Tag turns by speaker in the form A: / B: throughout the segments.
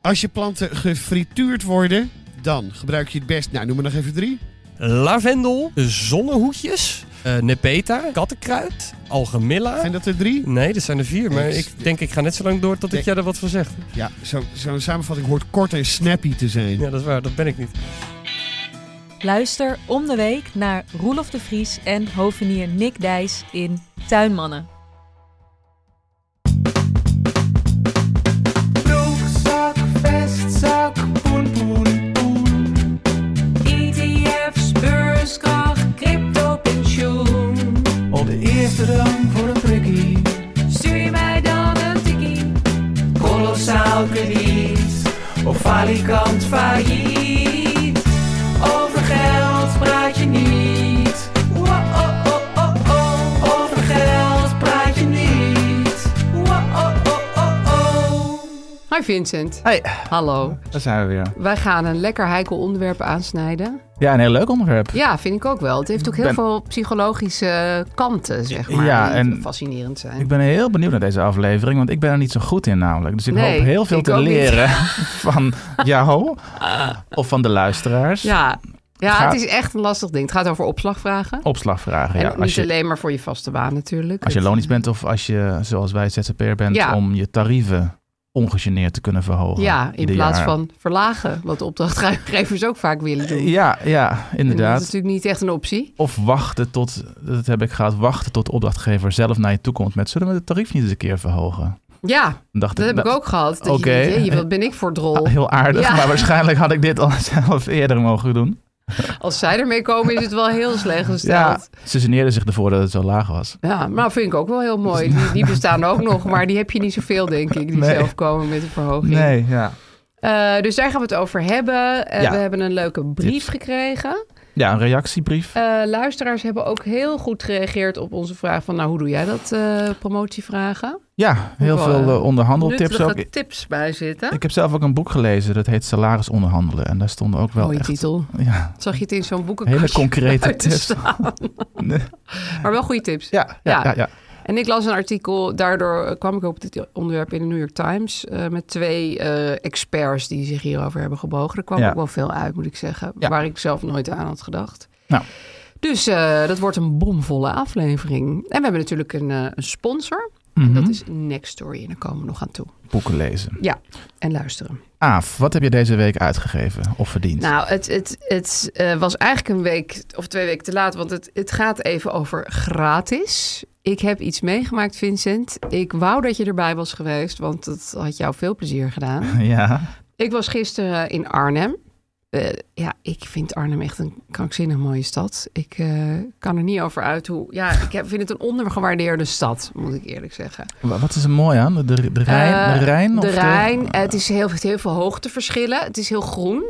A: Als je planten gefrituurd worden, dan gebruik je het best. Nou, noem maar nog even drie.
B: lavendel, zonnehoedjes, eh nepeta, kattenkruid, algemilla.
A: Zijn dat er drie?
B: Nee, dat zijn er vier, maar
A: Nee,
B: ik
A: dus-
B: denk ik ga net zo lang door tot ik
A: Nee.
B: jij er wat van zeg.
A: Ja, zo- zo'n samenvatting hoort kort en snappy te zijn.
B: Ja, dat is waar, dat ben ik niet.
C: Luister om de week naar Roelof de Vries en hovenier Nick Dijs in Tuinmannen.
D: Broekzak, vestzak, poen, poen, poen. ETF's, beurskracht, crypto, pensioen. Op de eerste rang voor een prikkie. Stuur je mij dan een tikkie. Kolossaal krediet. Of falikant failliet. Over geld praat je niet. oh, Wa-oh-oh-oh-oh. Over geld oh, praat je niet. oh, Wa-oh-oh-oh-oh.
E: Hi Vincent.
F: Hey,
E: Hallo.
F: daar zijn we weer.
E: Wij gaan een lekker heikel onderwerp aansnijden.
F: Ja, een heel leuk onderwerp.
E: Ja, vind ik ook wel. Het heeft ook heel
F: Ben-
E: veel psychologische kanten, zeg maar,
F: Ja,
E: die
F: en-
E: fascinerend zijn.
F: Ik ben heel benieuwd naar deze aflevering, want ik ben er niet zo goed in namelijk. Dus ik
E: Nee,
F: hoop heel veel
E: ik
F: te
E: ook niet.
F: leren van jou of van de luisteraars.
E: Ja, ja
F: Gaat-
E: het is echt een lastig ding. Het gaat over opslagvragen.
F: Opslagvragen,
E: en
F: ja.
E: ook
F: Als
E: niet
F: je,
E: alleen maar voor je vaste baan natuurlijk.
F: als je
E: Het-
F: lonisch bent of als je, zoals wij, ZZP'er bent,
E: Ja.
F: om je tarieven ongegeneerd te kunnen verhogen.
E: Ja, in
F: ieder
E: plaats
F: jaar.
E: van verlagen, wat de opdrachtgevers ook vaak willen doen.
F: Ja, ja,
E: En dat is
F: inderdaad.
E: natuurlijk niet echt een optie.
F: Of wachten tot, dat heb ik gehad, wachten tot de opdrachtgever zelf naar je toe komt met, zullen we het tarief niet eens een keer verhogen?
E: Ja,
F: Dan dacht nou,
E: dat heb ik ook gehad. Dat
F: Oké.
E: je denkt, "Jee, wat ben ik voor drol.
F: Ah, Heel aardig,
E: Ja.
F: maar waarschijnlijk had ik dit al zelf eerder mogen doen.
E: Als zij ermee komen is het wel heel slecht gesteld.
F: Ja, ze geneerden zich ervoor dat het zo laag was.
E: Ja, maar dat vind ik ook wel heel mooi. Die, die bestaan ook nog, maar die heb je niet zoveel, denk ik, die
F: Nee.
E: zelf komen met een verhoging.
F: Nee, ja.
E: Eh, dus daar gaan we het over hebben. Eh,
F: Ja.
E: We hebben een leuke brief
F: Tips.
E: gekregen.
F: Ja, een reactiebrief.
E: Eh, luisteraars hebben ook heel goed gereageerd op onze vraag van... nou, hoe doe jij dat, eh, promotievragen?
F: Ja, heel
E: wel,
F: veel
E: eh,
F: eh, onderhandeltips
E: Nuttige
F: ook.
E: tips bij zitten.
F: Ik heb zelf ook een boek gelezen, dat heet Salaris onderhandelen. En daar stonden ook wel
E: Mooie
F: echt
E: titel.
F: Ja,
E: Zag je het in zo'n boekenkastje
F: hele concrete
E: buiten
F: tips.
E: staan?
F: Nee.
E: Maar wel goede tips.
F: Ja, ja,
E: Ja.
F: ja, ja.
E: En ik las een artikel, daardoor eh, kwam ik op dit onderwerp in de New York Times... eh, met twee eh, experts die zich hierover hebben gebogen. Er kwam
F: Ja.
E: ook wel veel uit, moet ik zeggen,
F: Ja.
E: waar ik zelf nooit aan had gedacht.
F: Nou.
E: Dus eh, dat wordt een bomvolle aflevering. En we hebben natuurlijk een, eh, een sponsor.
F: Mhm.
E: En dat is Next Story. En daar komen we nog aan toe.
F: Boeken lezen.
E: Ja, en luisteren.
F: Aaf, wat heb je deze week uitgegeven of verdiend?
E: Nou, het, het, het eh, was eigenlijk een week of twee weken te laat, want het, het gaat even over gratis. Ik heb iets meegemaakt, Vincent. Ik wou dat je erbij was geweest, want dat had jou veel plezier gedaan.
F: ja,
E: Ik was gisteren in Arnhem. Eh, ja, ik vind Arnhem echt een krankzinnig mooie stad. Ik eh, kan er niet over uit hoe... Ja, ik heb- vind het een ondergewaardeerde stad, moet ik eerlijk zeggen.
F: Wa- wat is er mooi aan? De, de, de Rijn?
E: Eh,
F: de Rijn?
E: De
F: of
E: Rijn. Eh, Het is heel, heeft heel veel hoogteverschillen. Het is heel groen.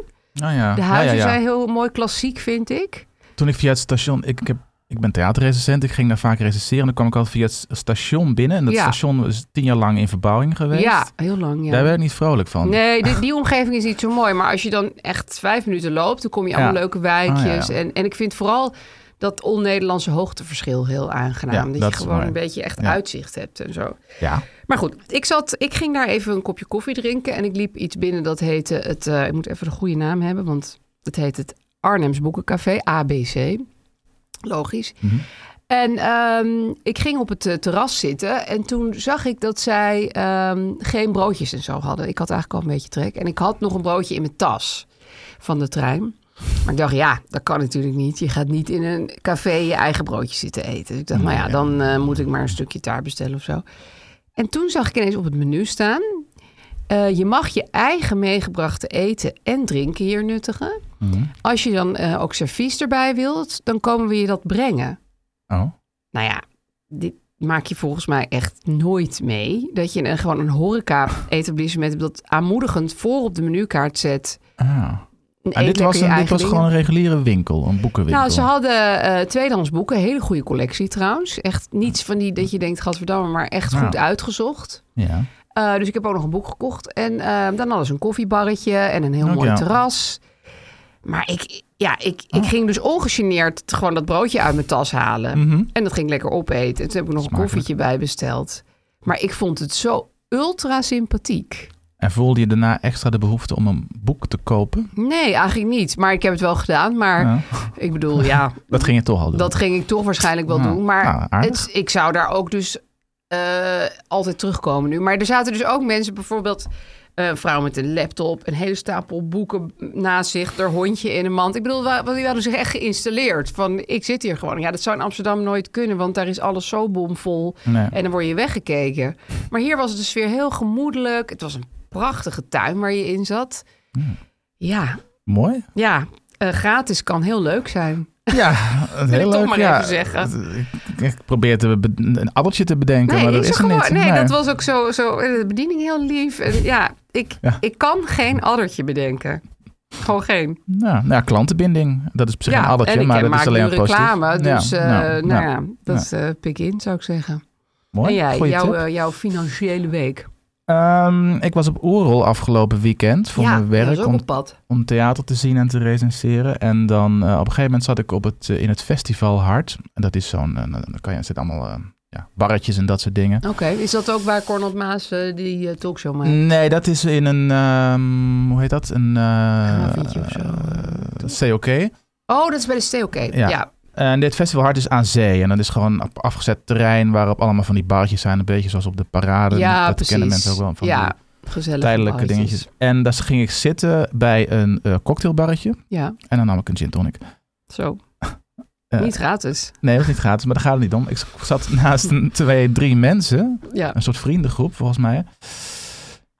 F: Oh ja.
E: De
F: ja,
E: huizen
F: ja, ja.
E: zijn heel mooi klassiek, vind ik.
F: Toen ik via het station... Ik, ik, heb, ik ben theaterrecensent, ik ging daar vaak recenseren. Dan kwam ik altijd via het s- station binnen. En dat
E: Ja.
F: station is tien jaar lang in verbouwing geweest.
E: Ja, heel lang. Ja.
F: Daar werd ik niet vrolijk van.
E: Nee, die, die omgeving is niet zo mooi. Maar als je dan echt vijf minuten loopt, dan kom je
F: Ja.
E: allemaal leuke wijkjes.
F: Ah, ja,
E: En, en ik vind vooral dat on-Nederlandse hoogteverschil heel
F: Ja,
E: aangenaam. dat,
F: dat
E: je
F: is
E: gewoon
F: mooi.
E: een beetje echt
F: Ja.
E: uitzicht hebt en zo.
F: Ja.
E: Maar goed, ik, zat, ik ging daar even een kopje koffie drinken. En ik liep iets binnen dat heette het... eh, ik moet even de goede naam hebben, want het heet het Arnhems Boekencafé, ABC. Logisch.
D: En ehm, ik ging op het eh, terras zitten en toen zag ik dat zij ehm, geen broodjes en zo hadden. Ik had eigenlijk al een beetje trek. En ik had nog een broodje in mijn tas van de trein. Maar ik dacht, ja, dat kan natuurlijk niet. Je gaat niet in een café je eigen broodje zitten eten. Dus ik dacht, nou ja, dan eh, moet ik maar een stukje taart bestellen of zo. En toen zag ik ineens op het menu staan... eh, je mag je eigen meegebrachte eten en drinken hier nuttigen.
E: Mhm.
D: Als je dan eh, ook servies erbij wilt, dan komen we je dat brengen.
E: Oh.
D: Nou ja, dit maak je volgens mij echt nooit mee. Dat je een, gewoon een horeca-etablissement hebt dat aanmoedigend voor op de menukaart zet.
E: Ah. En
D: eet
E: dit
D: lekker
E: was,
D: je
E: een, dit
D: eigen
E: was gewoon een
D: dingen.
E: reguliere winkel, een boekenwinkel.
D: Nou, ze hadden eh tweedehands boeken, hele goede collectie trouwens. Echt niets van die dat je denkt, gadverdamme, maar echt
E: Nou.
D: goed uitgezocht.
E: Ja.
D: Eh, dus ik heb ook nog een boek gekocht. En eh, dan hadden ze een koffiebarretje en een heel
E: Ook
D: mooi
E: ja. Oh.
D: terras. Maar ik, ja, ik, ik ging dus ongegeneerd gewoon dat broodje uit mijn tas halen.
E: Mhm.
D: En dat ging ik lekker opeten. En toen heb ik nog een koffietje bij besteld. Maar ik vond het zo ultra sympathiek.
E: En voelde je daarna extra de behoefte om een boek te kopen?
D: Nee, eigenlijk niet. Maar ik heb het wel gedaan. Maar
E: Ja.
D: ik bedoel, ja,
E: Dat ging je toch al doen?
D: dat ging ik toch waarschijnlijk wel
E: Nou,
D: doen. Maar
E: nou, aardig.
D: het, ik zou daar ook dus eh, altijd terugkomen nu. Maar er zaten dus ook mensen, bijvoorbeeld eh, een vrouw met een laptop, een hele stapel boeken naast zich, haar hondje in een mand. Ik bedoel, wa- die hadden zich echt geïnstalleerd. Van ik zit hier gewoon. Ja, dat zou in Amsterdam nooit kunnen, want daar is alles zo bomvol.
E: Nee.
D: En dan word je weggekeken. Maar hier was het dus weer heel gemoedelijk. Het was een prachtige tuin waar je in zat. Ja,
E: Hmm. Mooi.
D: ja. eh, gratis kan heel leuk zijn.
E: Ja, heel
D: ik
E: leuk.
D: toch maar
E: ja.
D: even zeggen.
E: Ik- Ik probeer te be- een appeltje te bedenken, maar dat
D: ik
E: is
D: zag
E: er niet.
D: gewoon- nee, dat was ook zo, zo. eh, De bediening heel lief. En ja, ik,
E: Ja.
D: ik kan geen addertje Oh, bedenken. Gewoon geen.
E: Nou, nou ja, klantenbinding. Dat is op zich een addertje,
D: en ik
E: maar
D: eh,
E: dat
D: maak
E: is alleen
D: nu
E: maar positief.
D: reclame. Dus eh, nou,
E: nou,
D: ja, dat is
E: nou.
D: eh, pik in, zou ik zeggen.
E: Mooi,
D: en jij,
E: goeie
D: jouw,
E: tip.
D: eh, jouw financiële week.
E: Ehm, ik was op Oerol afgelopen weekend voor
D: ja,
E: mijn
D: dat
E: werk
D: is ook
E: om,
D: op pad.
E: om theater te zien en te recenseren. En dan eh, op een gegeven moment zat ik op het, eh, in het festival Hart. En dat is zo'n, eh, nou, dan kan je, er zitten allemaal eh, ja, barretjes en dat soort dingen.
D: Oké, is dat ook waar Cornel Maas eh, die eh, talkshow maakt?
E: Nee, dat is in een, ehm, hoe heet dat? Een
D: Grafietje of zo,
E: eh COK.
D: Oh, dat is bij de stee oké.
E: Ja.
D: ja,
E: En dit festival Hart is aan zee. En dat is gewoon op afgezet terrein waarop allemaal van die barretjes zijn. Een beetje zoals op de parade.
D: Ja,
E: dat
D: precies.
E: kennen mensen ook wel van die
D: ja, gezellig.
E: tijdelijke dingetjes. En daar ging ik zitten bij een eh, cocktailbarretje.
D: Ja,
E: En dan nam ik een gin tonic.
D: zo.
E: Eh,
D: Niet gratis.
E: Nee, dat was niet gratis, maar daar gaat het niet om. Ik zat naast een, twee, drie mensen.
D: Ja.
E: Een soort vriendengroep, volgens mij.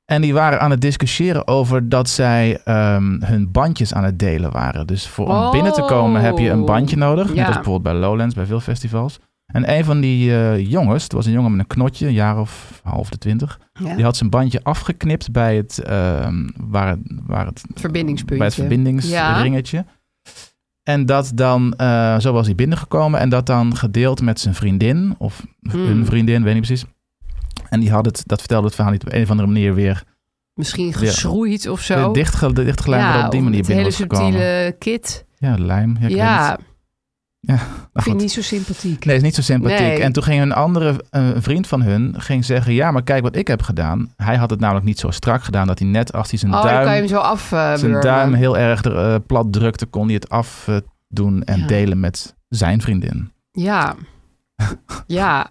E: En die waren aan het discussiëren over dat zij ehm, hun bandjes aan het delen waren. Dus voor, om
D: Oh.
E: binnen te komen heb je een bandje nodig. Net
D: Ja.
E: als bijvoorbeeld bij Lowlands, bij veel festivals. En een van die eh, jongens, het was een jongen met een knotje, een jaar of half de twintig.
D: Ja.
E: Die had zijn bandje afgeknipt bij het, ehm, waar, het- waar het
D: Verbindingspuntje.
E: bij het verbindingsringetje. En dat dan, eh, zo was hij binnengekomen en dat dan gedeeld met zijn vriendin of hun
D: Hmm.
E: vriendin, weet niet precies. En die had het, dat vertelde het verhaal niet op een of andere manier weer,
D: Misschien geschroeid of zo.
E: weer dichtge, dichtgelijmd maar op die
D: of
E: manier
D: met
E: binnen was
D: hele
E: gekomen.
D: subtiele kit.
E: Ja, lijm. Ja,
D: Ja,
E: ik weet het. ja nou
D: vind
E: goed.
D: ik niet zo sympathiek.
E: Nee, is niet zo sympathiek.
D: Nee.
E: En toen ging een andere een vriend van hun ging zeggen, ja, maar kijk wat ik heb gedaan. Hij had het namelijk niet zo strak gedaan dat hij net als hij zijn
D: oh, dan
E: duim
D: kan je hem zo af. eh,
E: zijn
D: wurmen.
E: duim heel erg er, eh, plat drukte, kon hij het afdoen en
D: Ja.
E: delen met zijn vriendin.
D: Ja. Ja,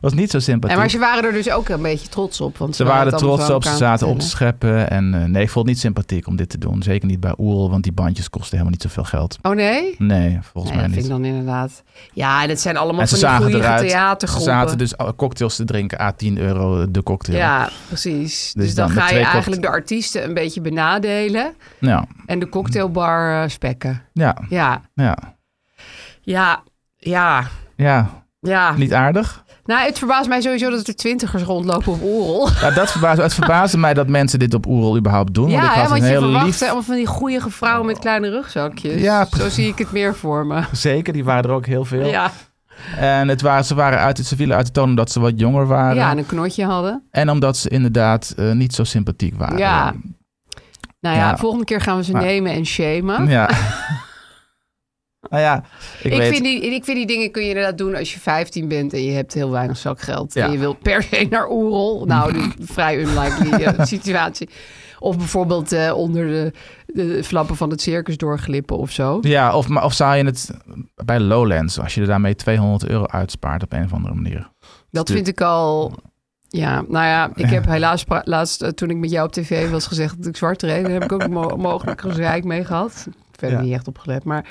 E: Was niet zo sympathiek.
D: en maar ze waren er dus ook een beetje trots op. Want
E: ze waren er trots op, ze zaten op te scheppen. En eh, nee, ik vond het niet sympathiek om dit te doen. Zeker niet bij Oerl, want die bandjes kosten helemaal niet zoveel geld.
D: Oh nee?
E: Nee, volgens
D: nee,
E: mij
D: dat vind
E: niet.
D: ik dan inderdaad. Ja, en dat zijn allemaal
E: en ze
D: van die
E: zagen
D: goede
E: eruit. Ze
D: theatergroepen.
E: zaten dus al- cocktails te drinken, a 10 euro de cocktail.
D: Ja, precies. Dus, dan,
E: dan met
D: ga je
E: twee
D: eigenlijk de artiesten een beetje benadelen
E: Ja,
D: en de cocktailbar eh, spekken.
E: ja,
D: Ja,
E: ja.
D: ja, ja,
E: ja.
D: ja.
E: niet aardig.
D: Nou, het verbaast mij sowieso dat er twintigers rondlopen op Oerol.
E: Ja, dat verbaasde, het verbaasde mij dat mensen dit op Oerl überhaupt doen. want ik
D: Ja, hè,
E: had
D: want
E: een
D: je
E: heel
D: verwacht
E: lief
D: hè, allemaal van die goeie vrouwen met kleine rugzakjes.
E: Ja,
D: Zo
E: precies.
D: zie ik het meer voor me.
E: Zeker, die waren er ook heel veel.
D: Ja,
E: En het waren, ze, waren uit, ze vielen uit de toon omdat ze wat jonger waren.
D: ja en een knotje hadden.
E: En omdat ze inderdaad eh, niet zo sympathiek waren.
D: Ja. Nou ja,
E: Ja.
D: volgende keer gaan we ze
E: Maar-
D: nemen en shamen.
E: Ja. Nou ja, ik,
D: Ik,
E: weet...
D: vind die, ik vind die dingen kun je inderdaad doen als je 15 bent en je hebt heel weinig zakgeld.
E: Ja.
D: En je wilt per se naar Oerol. Nou, die vrij unlikely eh, situatie. Of bijvoorbeeld eh, onder de, de flappen van het circus doorglippen of zo.
E: Ja, of, maar- of zou je het bij Lowlands, als je er daarmee 200 euro uitspaart op een of andere manier.
D: Dat vind ik al... Ja, nou ja, ik
E: Ja.
D: heb helaas pra- laatst, eh, toen ik met jou op tv was gezegd dat ik zwart reed, daar heb ik ook mo- mogelijk gezeik mee gehad. Verder
E: Ja.
D: niet echt opgelet, maar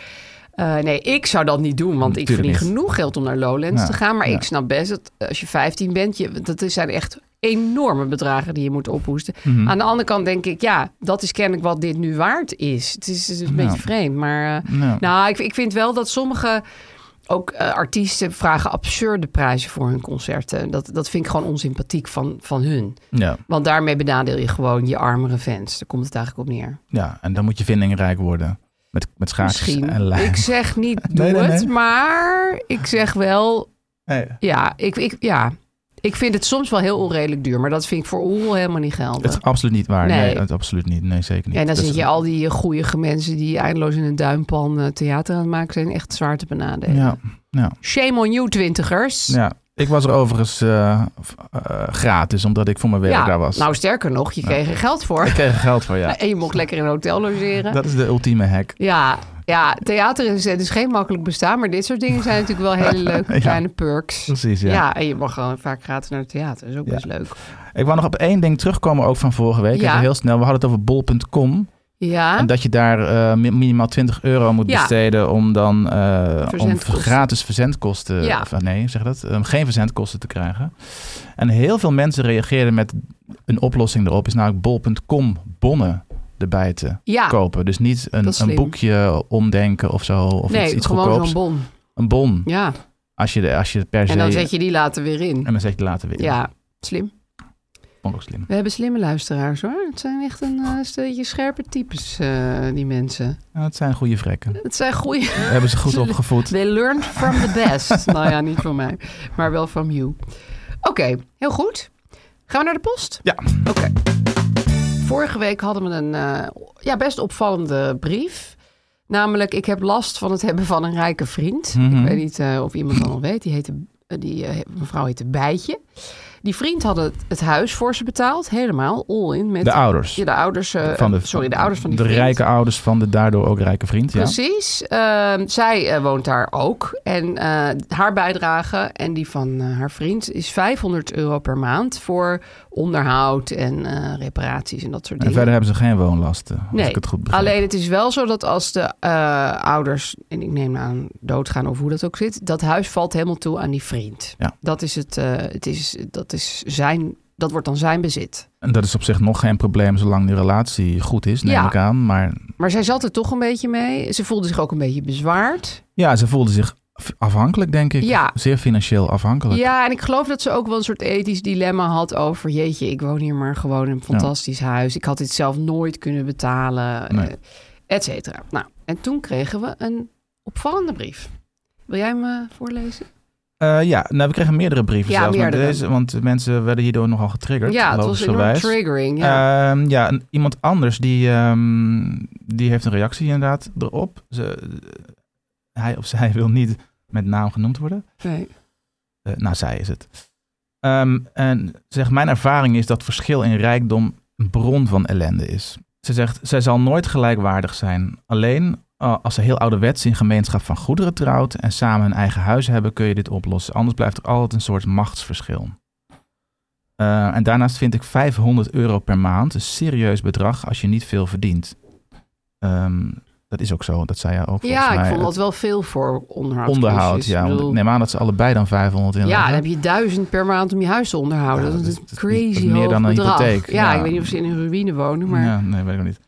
D: eh, nee, ik zou dat niet doen, want ik
E: Natuurlijk
D: verdien
E: niet.
D: genoeg geld om naar Lowlands
E: Ja.
D: te gaan. Maar
E: Ja.
D: ik snap best dat eh, als je 15 bent, je, dat zijn echt enorme bedragen die je moet ophoesten.
E: Mhm.
D: Aan de andere kant denk ik, ja, dat is kennelijk wat dit nu waard is. Het is, het is een
E: Ja.
D: beetje vreemd, maar eh,
E: Ja.
D: nou, ik, ik vind wel dat sommige ook eh, artiesten vragen absurde prijzen voor hun concerten. Dat, dat vind ik gewoon onsympathiek van, van hun.
E: Ja,
D: Want daarmee benadeel je gewoon je armere fans. Daar komt het eigenlijk op neer.
E: ja, en dan moet je vindingrijk worden. Met, met schaatsjes en
D: Misschien.
E: lijm.
D: Ik zeg niet doe
E: Nee, nee,
D: het,
E: nee.
D: maar ik zeg wel...
E: Nee.
D: Ja ik, ik, ja, ik vind het soms wel heel onredelijk duur. Maar dat vind ik voor Oerol helemaal niet
E: Het
D: geldig.
E: is absoluut niet waar. Nee,
D: Nee.
E: het, absoluut niet. Nee, zeker niet.
D: Ja, en dan
E: Dat
D: zit
E: is-
D: je al die goede mensen die eindeloos in een duimpan eh, theater aan het maken zijn. Echt zwaar te benadelen.
E: Ja, ja.
D: Shame on you, twintigers.
E: Ja, ik was er overigens eh, v- eh, gratis, omdat ik voor mijn werk daar was.
D: Nou, sterker nog, je
E: Ja.
D: kreeg er geld voor.
E: Ik kreeg er geld voor, ja.
D: En je mocht lekker in een hotel logeren.
E: Dat is de ultieme hack.
D: Ja, ja, theater is, het is geen makkelijk bestaan, maar dit soort dingen zijn natuurlijk wel hele leuke
E: Ja.
D: kleine perks.
E: Precies, ja.
D: en je mag gewoon vaak gratis naar het theater. Dat is ook
E: Ja.
D: best leuk.
E: Ik wou nog op één ding terugkomen, ook van vorige week.
D: Ja.
E: Even heel snel. We hadden het over bol.com.
D: Ja,
E: En dat je daar eh, mi- minimaal 20 euro moet
D: Ja.
E: besteden om dan eh, om
D: Verzendkosten.
E: gratis verzendkosten,
D: Ja.
E: of, eh, nee, zeg dat, om geen verzendkosten te krijgen. En heel veel mensen reageerden met een oplossing erop, is namelijk bol.com bonnen erbij te
D: Ja.
E: kopen. Dus niet een,
D: Ah, Dat is
E: een
D: slim.
E: boekje omdenken of zo, of
D: nee,
E: iets, iets
D: gewoon
E: goedkoops.
D: zo'n bon.
E: Een bon,
D: Ja,
E: als je, de- als je per se...
D: en dan zet je die later weer in.
E: en dan zet je later weer. in.
D: Ja, slim.
E: Vond ik ook slim.
D: We hebben slimme luisteraars hoor. Het zijn echt een eh, stelletje scherpe types, eh, die mensen.
E: Ja, het zijn goede vrekken.
D: Het zijn goede...
E: Hebben ze goed opgevoed.
D: They learned from the best. nou ja, niet van mij, maar wel van you. Oké, heel goed. Gaan we naar de post?
E: Ja.
D: Oké. Vorige week hadden we een eh, ja, best opvallende brief. Namelijk, ik heb last van het hebben van een rijke vriend.
E: Mhm.
D: Ik weet niet eh, of iemand dat al weet. Die, heette, eh, die eh, mevrouw heette Bijtje. Die vriend had het, het huis voor ze betaald. Helemaal, all in. Met
E: De ouders.
D: Ja, de ouders. eh,
E: Van de,
D: sorry, de ouders van die
E: De
D: vriend.
E: rijke ouders van de daardoor ook rijke vriend. Ja.
D: Precies. Ehm, zij eh, woont daar ook. En eh, haar bijdrage en die van eh, haar vriend is 500 euro per maand voor onderhoud en eh, reparaties en dat soort
E: En
D: dingen.
E: verder hebben ze geen woonlasten, als
D: Nee,
E: ik het goed begrijp.
D: alleen het is wel zo dat als de eh, ouders, en ik neem aan doodgaan of hoe dat ook zit, dat huis valt helemaal toe aan die vriend.
E: Ja.
D: Dat is het, eh, het is, dat is zijn, dat wordt dan zijn bezit.
E: En dat is op zich nog geen probleem, zolang die relatie goed is, neem
D: Ja.
E: ik aan. Maar
D: Maar zij zat er toch een beetje mee. Ze voelde zich ook een beetje bezwaard.
E: ja, ze voelde zich f- afhankelijk, denk ik.
D: Ja.
E: Zeer financieel afhankelijk.
D: Ja, en ik geloof dat ze ook wel een soort ethisch dilemma had over... jeetje, ik woon hier maar gewoon in een fantastisch huis. Ik had dit zelf nooit kunnen betalen,
E: Nee.
D: eh, et cetera. Nou, en toen kregen we een opvallende brief. Wil jij hem eh, voorlezen?
E: Eh, ja, nou, we kregen meerdere brieven
D: Ja,
E: zelfs. maar
D: meerdere.
E: Deze, want de mensen werden hierdoor nogal getriggerd.
D: ja, het was enorm
E: logischerwijs.
D: triggering. Ja.
E: Ehm, ja, en iemand anders die, ehm, die heeft een reactie inderdaad erop. Ze, hij of zij wil niet met naam genoemd worden.
D: nee.
E: Eh, nou, zij is het. Ehm, en ze zegt, mijn ervaring is dat verschil in rijkdom een bron van ellende is. Ze zegt, zij zal nooit gelijkwaardig zijn. Alleen eh, als ze heel ouderwets in gemeenschap van goederen trouwt en samen een eigen huis hebben, kun je dit oplossen. Anders blijft er altijd een soort machtsverschil. Eh, en daarnaast vind ik 500 euro per maand een serieus bedrag als je niet veel verdient. Ehm, dat is ook zo, dat zei jij ook volgens
D: ja, ik
E: mij.
D: vond dat wel veel voor onderhoud.
E: Onderhoud, ja. want Ik neem aan dat ze allebei dan 500 in
D: Ja, dan heb je duizend per maand om je huis te onderhouden.
E: Ja,
D: dat,
E: dat
D: is
E: is- dat
D: een
E: is
D: crazy
E: meer
D: hoog
E: dan een
D: bedrag.
E: hypotheek,
D: Ja,
E: ja.
D: ik weet niet of ze in een ruïne wonen, maar...
E: Ja, nee, weet ik ook niet.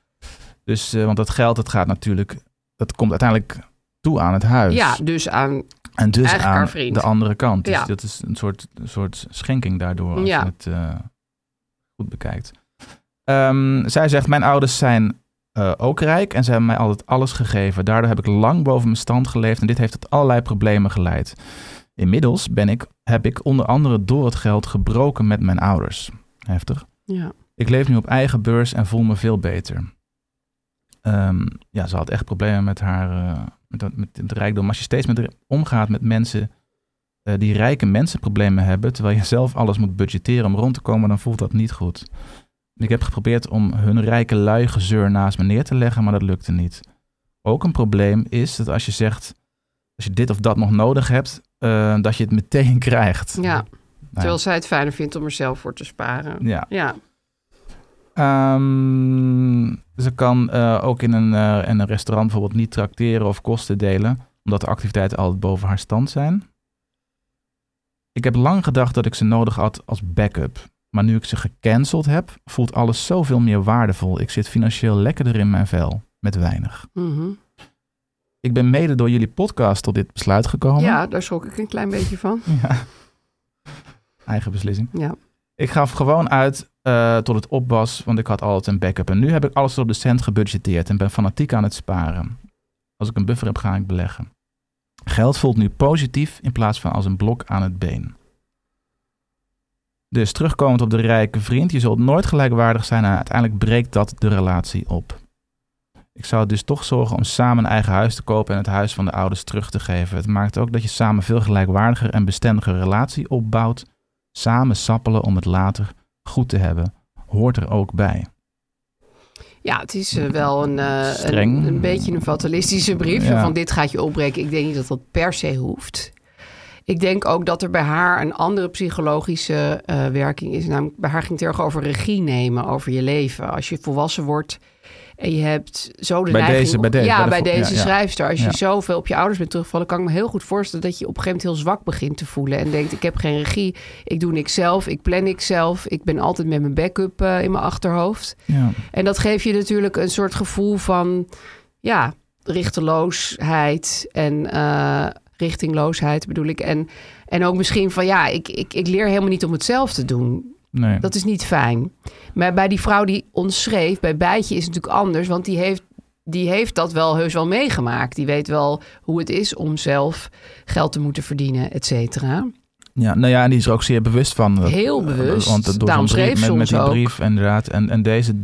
E: Dus, eh, want dat geld, dat gaat natuurlijk, dat komt uiteindelijk toe aan het huis.
D: Ja, dus aan...
E: en dus
D: eigenlijk
E: aan
D: haar vriend.
E: de andere kant. Dus
D: Ja.
E: dat is een soort, een soort schenking daardoor, als
D: Ja.
E: je het eh, goed bekijkt. Ehm, zij zegt, mijn ouders zijn eh, ook rijk en ze hebben mij altijd alles gegeven. Daardoor heb ik lang boven mijn stand geleefd en dit heeft tot allerlei problemen geleid. Inmiddels ben ik, heb ik onder andere door het geld gebroken met mijn ouders. Heftig.
D: Ja.
E: Ik leef nu op eigen beurs en voel me veel beter. ehm, ja, ze had echt problemen met haar, eh, met, dat- met het rijkdom. Als je steeds met, omgaat met mensen eh, die rijke mensen problemen hebben, terwijl je zelf alles moet budgetteren om rond te komen, dan voelt dat niet goed. Ik heb geprobeerd om hun rijke lui gezeur naast me neer te leggen, maar dat lukte niet. Ook een probleem is dat als je zegt, als je dit of dat nog nodig hebt, eh, dat je het meteen krijgt.
D: Ja.
E: Nou ja.
D: Terwijl zij het fijner vindt om er zelf voor te sparen.
E: Ja.
D: ja.
E: Ehm, ze kan eh, ook in een, eh, in een restaurant bijvoorbeeld niet tracteren of kosten delen, omdat de activiteiten altijd boven haar stand zijn. Ik heb lang gedacht dat ik ze nodig had als backup. Maar nu ik ze gecanceld heb, voelt alles zoveel meer waardevol. Ik zit financieel lekkerder in mijn vel, met weinig.
D: Mhm.
E: Oh. Ik ben mede door jullie podcast tot dit besluit gekomen.
D: ja, daar schrok ik een klein beetje van.
E: Ja. Eigen beslissing.
D: Ja.
E: Ik gaf gewoon uit eh, tot het op was, want ik had altijd een backup. En nu heb ik alles tot de cent gebudgeteerd en ben fanatiek aan het sparen. Als ik een buffer heb, ga ik beleggen. Geld voelt nu positief in plaats van als een blok aan het been. Dus terugkomend op de rijke vriend, je zult nooit gelijkwaardig zijn en uiteindelijk breekt dat de relatie op. Ik zou dus toch zorgen om samen een eigen huis te kopen en het huis van de ouders terug te geven. Het maakt ook dat je samen veel gelijkwaardiger en bestendiger relatie opbouwt. Samen sappelen om het later goed te hebben, hoort er ook bij.
D: Ja, het is eh, wel een, eh,
E: Streng.
D: een, een beetje een fatalistische brief.
E: Ja.
D: Van dit gaat je opbreken. Ik denk niet dat dat per se hoeft. Ik denk ook dat er bij haar een andere psychologische eh, werking is. Namelijk, bij haar ging het erg over regie nemen over je leven. Als je volwassen wordt en je hebt zo de
E: Bij
D: neiging...
E: deze- bij deze,
D: ja,
E: bij de
D: bij
E: vo-
D: deze
E: ja, ja.
D: schrijfster. Als
E: Ja.
D: je zoveel op je ouders bent teruggevallen... kan ik me heel goed voorstellen dat je op een gegeven moment heel zwak begint te voelen. En denkt, ik heb geen regie. Ik doe niks zelf. Ik plan niks zelf. Ik ben altijd met mijn backup eh, in mijn achterhoofd.
E: Ja.
D: En dat geeft je natuurlijk een soort gevoel van ja, richteloosheid en eh, richtingloosheid bedoel ik. En, en ook misschien van ja, ik, ik, ik leer helemaal niet om het zelf te doen.
E: Nee.
D: Dat is niet fijn. Maar bij die vrouw die ons schreef, bij Bijtje is het natuurlijk anders, want die heeft, die heeft dat wel heus wel meegemaakt. Die weet wel hoe het is om zelf geld te moeten verdienen, et cetera.
E: Ja, nou ja, en die is er ook zeer bewust van. Dat-
D: Heel bewust.
E: Want dat door
D: Daarom
E: zo'n brief,
D: schreef ze
E: met, met
D: ons
E: die
D: ook.
E: brief inderdaad. En, en deze,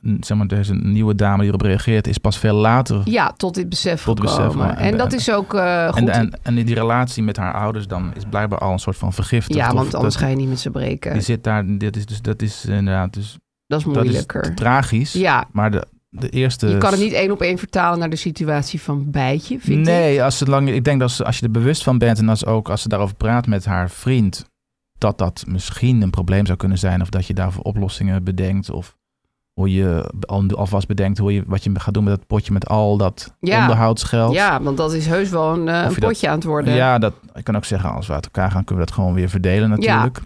E: mm, zeg maar, deze nieuwe dame die erop reageert, is pas veel later
D: Ja, tot dit besef
E: Tot besef,
D: gekomen.
E: ja.
D: en, dat is ook eh, goed.
E: En, en, en die relatie met haar ouders dan is blijkbaar al een soort van vergiftigd.
D: ja,
E: Of
D: want anders
E: dat-
D: ga eh, je niet met ze breken.
E: Die zit daar, dit is, dus, dat is inderdaad... Dus,
D: Dat is moeilijker.
E: Dat is tragisch,
D: Ja.
E: maar de, de eerste...
D: Je kan het niet één op één vertalen naar de situatie van bijtje, vind ik.
E: Nee, als ze lang, ik denk dat ze, als je er bewust van bent en als, ook als ze daarover praat met haar vriend, dat dat misschien een probleem zou kunnen zijn. Of dat je daarvoor oplossingen bedenkt. Of hoe je al, alvast bedenkt hoe je, wat je gaat doen met dat potje met al dat
D: Ja.
E: onderhoudsgeld.
D: Ja, want dat is heus wel een, eh,
E: Of
D: een
E: je dat-
D: potje aan het worden.
E: Ja, dat, ik kan ook zeggen, als we uit elkaar gaan, kunnen we dat gewoon weer verdelen natuurlijk.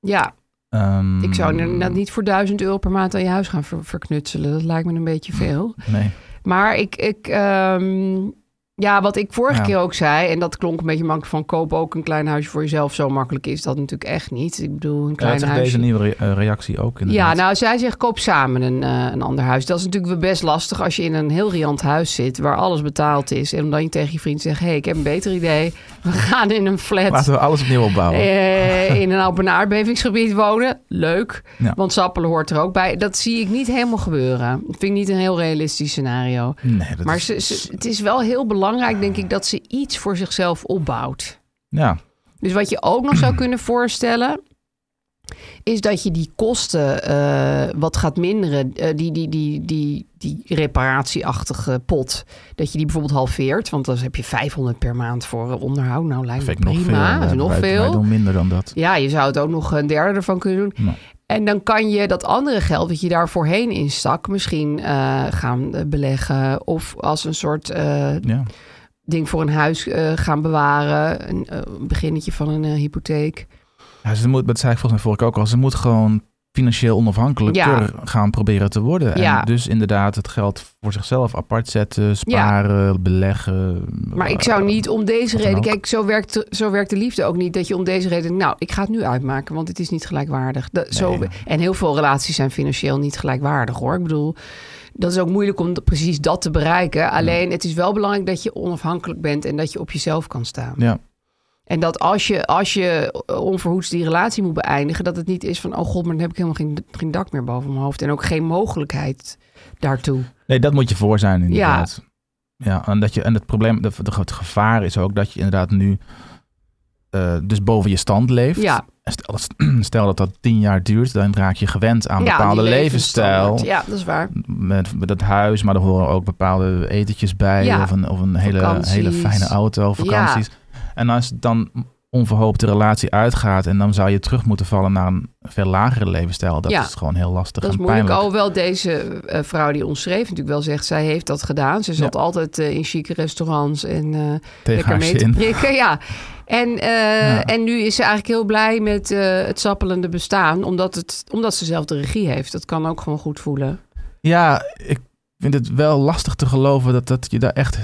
D: Ja,
E: Ehm,
D: ik zou inderdaad niet voor 1000 euro per maand aan je huis gaan ver- verknutselen. Dat lijkt me een beetje veel.
E: Hm. Nee.
D: Maar ik, ik ehm, ja, wat ik vorige
E: Ja.
D: keer ook zei, en dat klonk een beetje makkelijk van koop ook een klein huisje voor jezelf. Zo makkelijk is dat natuurlijk echt niet. Ik bedoel, een
E: Ja, dat
D: klein
E: is
D: huisje.
E: deze nieuwe re- eh, reactie ook inderdaad.
D: Ja, nou, zij zegt koop samen een, eh, een ander huis. Dat is natuurlijk wel best lastig als je in een heel riant huis zit... waar alles betaald is. En dan je tegen je vriend zegt... hé, hey, ik heb een beter idee. We gaan in een flat
E: Laten we alles opnieuw opbouwen.
D: eh, in een op een aardbevingsgebied wonen. Leuk,
E: Ja.
D: want sappelen hoort er ook bij. Dat zie ik niet helemaal gebeuren. Dat vind ik niet een heel realistisch scenario.
E: Nee, dat
D: maar
E: is-
D: ze, ze- het is wel heel belangrijk, denk ik... dat ze iets voor zichzelf opbouwt.
E: Ja,
D: Dus wat je ook nog zou kunnen voorstellen. Is dat je die kosten eh, wat gaat minderen. Eh, die, die, die, die, die reparatieachtige pot. Dat je die bijvoorbeeld halveert. Want dan heb je 500 per maand voor eh, onderhoud. Nou lijkt me
E: vind ik nog veel.
D: prima. Dat is
E: eh,
D: nog
E: wij-
D: veel.
E: Wij doen minder dan dat.
D: Ja, je zou het ook nog een derde ervan kunnen doen.
E: Nou.
D: En dan kan je dat andere geld dat je daar voorheen instak... misschien eh, gaan eh, beleggen. Of als een soort eh,
E: Ja.
D: ding voor een huis eh, gaan bewaren. Een eh, beginnetje van een eh, hypotheek.
E: Ja, ze moet, dat zei ik volgens mij vorige keer ook al, ze moet gewoon financieel onafhankelijker gaan proberen te worden.
D: Ja.
E: En dus inderdaad het geld voor zichzelf apart zetten, sparen, beleggen.
D: Maar ik zou niet om deze
E: Wat dan
D: reden...
E: ook.
D: Kijk, zo werkt, de- zo werkt de liefde ook niet. Dat je om deze reden... Nou, ik ga het nu uitmaken, want het is niet gelijkwaardig. Dat, zo,
E: Nee.
D: en heel veel relaties zijn financieel niet gelijkwaardig, hoor. Ik bedoel, dat is ook moeilijk om dat- precies dat te bereiken. Alleen, het is wel belangrijk dat je onafhankelijk bent... en dat je op jezelf kan staan.
E: Ja.
D: En dat als je, als je onverhoeds die relatie moet beëindigen, dat het niet is van, oh god, maar dan heb ik helemaal geen, geen dak meer boven mijn hoofd. En ook geen mogelijkheid daartoe.
E: Nee, dat moet je voor zijn inderdaad. Ja, en, dat je, en het probleem, de, de, het gevaar is ook dat je inderdaad nu eh, dus boven je stand leeft.
D: Ja.
E: En Stel, dat- stel dat dat tien jaar duurt, dan raak je gewend aan
D: Ja, die
E: bepaalde levensstijl.
D: levensstandaard. Ja, dat is waar.
E: Met, met dat huis, maar er horen ook bepaalde etentjes bij.
D: Ja.
E: Of een, of een hele,
D: Vakanties.
E: hele fijne auto, vakanties. En als dan onverhoopt de relatie uitgaat en dan zou je terug moeten vallen naar een veel lagere levensstijl. Dat
D: Ja.
E: is gewoon heel lastig
D: Dat is
E: en
D: moeilijk.
E: pijnlijk.
D: Alhoewel deze eh, vrouw die ons schreef natuurlijk wel zegt, zij heeft dat gedaan. Ze zat altijd eh, in chique restaurants en eh, lekker
E: haar
D: mee te
E: zin.
D: prikken. Ja. En, eh,
E: Ja.
D: en nu is ze eigenlijk heel blij met eh, het sappelende bestaan, omdat, het, omdat ze zelf de regie heeft. Dat kan ook gewoon goed voelen.
E: Ja, ik vind het wel lastig te geloven dat, dat je daar echt...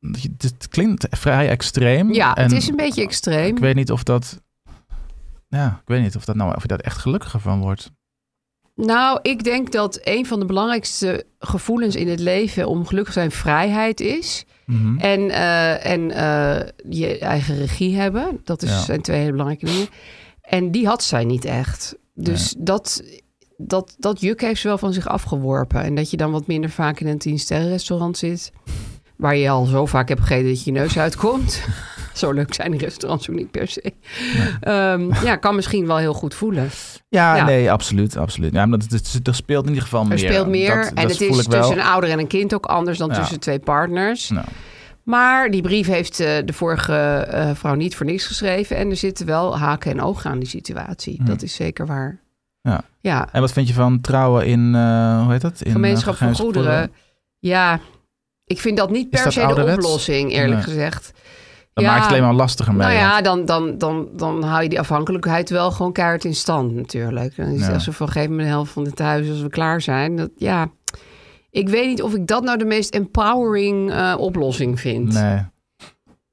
E: dat je- Het klinkt vrij extreem.
D: Ja, het
E: En
D: is een beetje extreem.
E: Ik weet niet of dat... Ja, ik weet niet of, dat nou, of je daar echt gelukkiger van wordt.
D: Nou, ik denk dat een van de belangrijkste gevoelens in het leven om gelukkig te zijn vrijheid is.
E: Mhm.
D: En, eh, en eh, je eigen regie hebben. Dat is,
E: Ja.
D: zijn twee hele belangrijke dingen. En die had zij niet echt. Dus dat, dat, dat juk heeft ze wel van zich afgeworpen. En dat je dan wat minder vaak in een tien-sterren-restaurant zit. Waar je al zo vaak hebt gegeten dat je je neus uitkomt. zo leuk zijn die restaurants ook niet per se. Ehm, ja, kan misschien wel heel goed voelen.
E: Ja,
D: Ja.
E: nee, absoluut. absoluut. Ja, maar dat, dat, dat speelt in ieder geval meer.
D: Er speelt meer.
E: Dat-
D: en
E: dat
D: het
E: voel
D: is
E: ik wel.
D: tussen een ouder en een kind ook anders dan
E: Ja.
D: tussen twee partners.
E: Nou.
D: Maar die brief heeft eh, de vorige eh, vrouw niet voor niks geschreven. En er zitten wel haken en ogen aan die situatie.
E: Hmm.
D: Dat is zeker waar.
E: Ja.
D: Ja.
E: En wat vind je van trouwen in, eh, hoe heet dat? In, eh,
D: gemeenschap van
E: gemeenschap
D: goederen. Ja, ik vind dat niet
E: Is
D: per
E: dat
D: se de
E: ouderwets?
D: oplossing, eerlijk
E: Nee.
D: gezegd.
E: Dat maakt het alleen maar lastiger mee,
D: Nou ja,
E: want-
D: dan, dan, dan, dan hou je die afhankelijkheid wel gewoon keihard in stand natuurlijk. Dan is het
E: Ja.
D: echt zo van, geef me de helft van het huis als we klaar zijn. Dat, ja, ik weet niet of ik dat nou de meest empowering eh, oplossing vind.
E: Nee.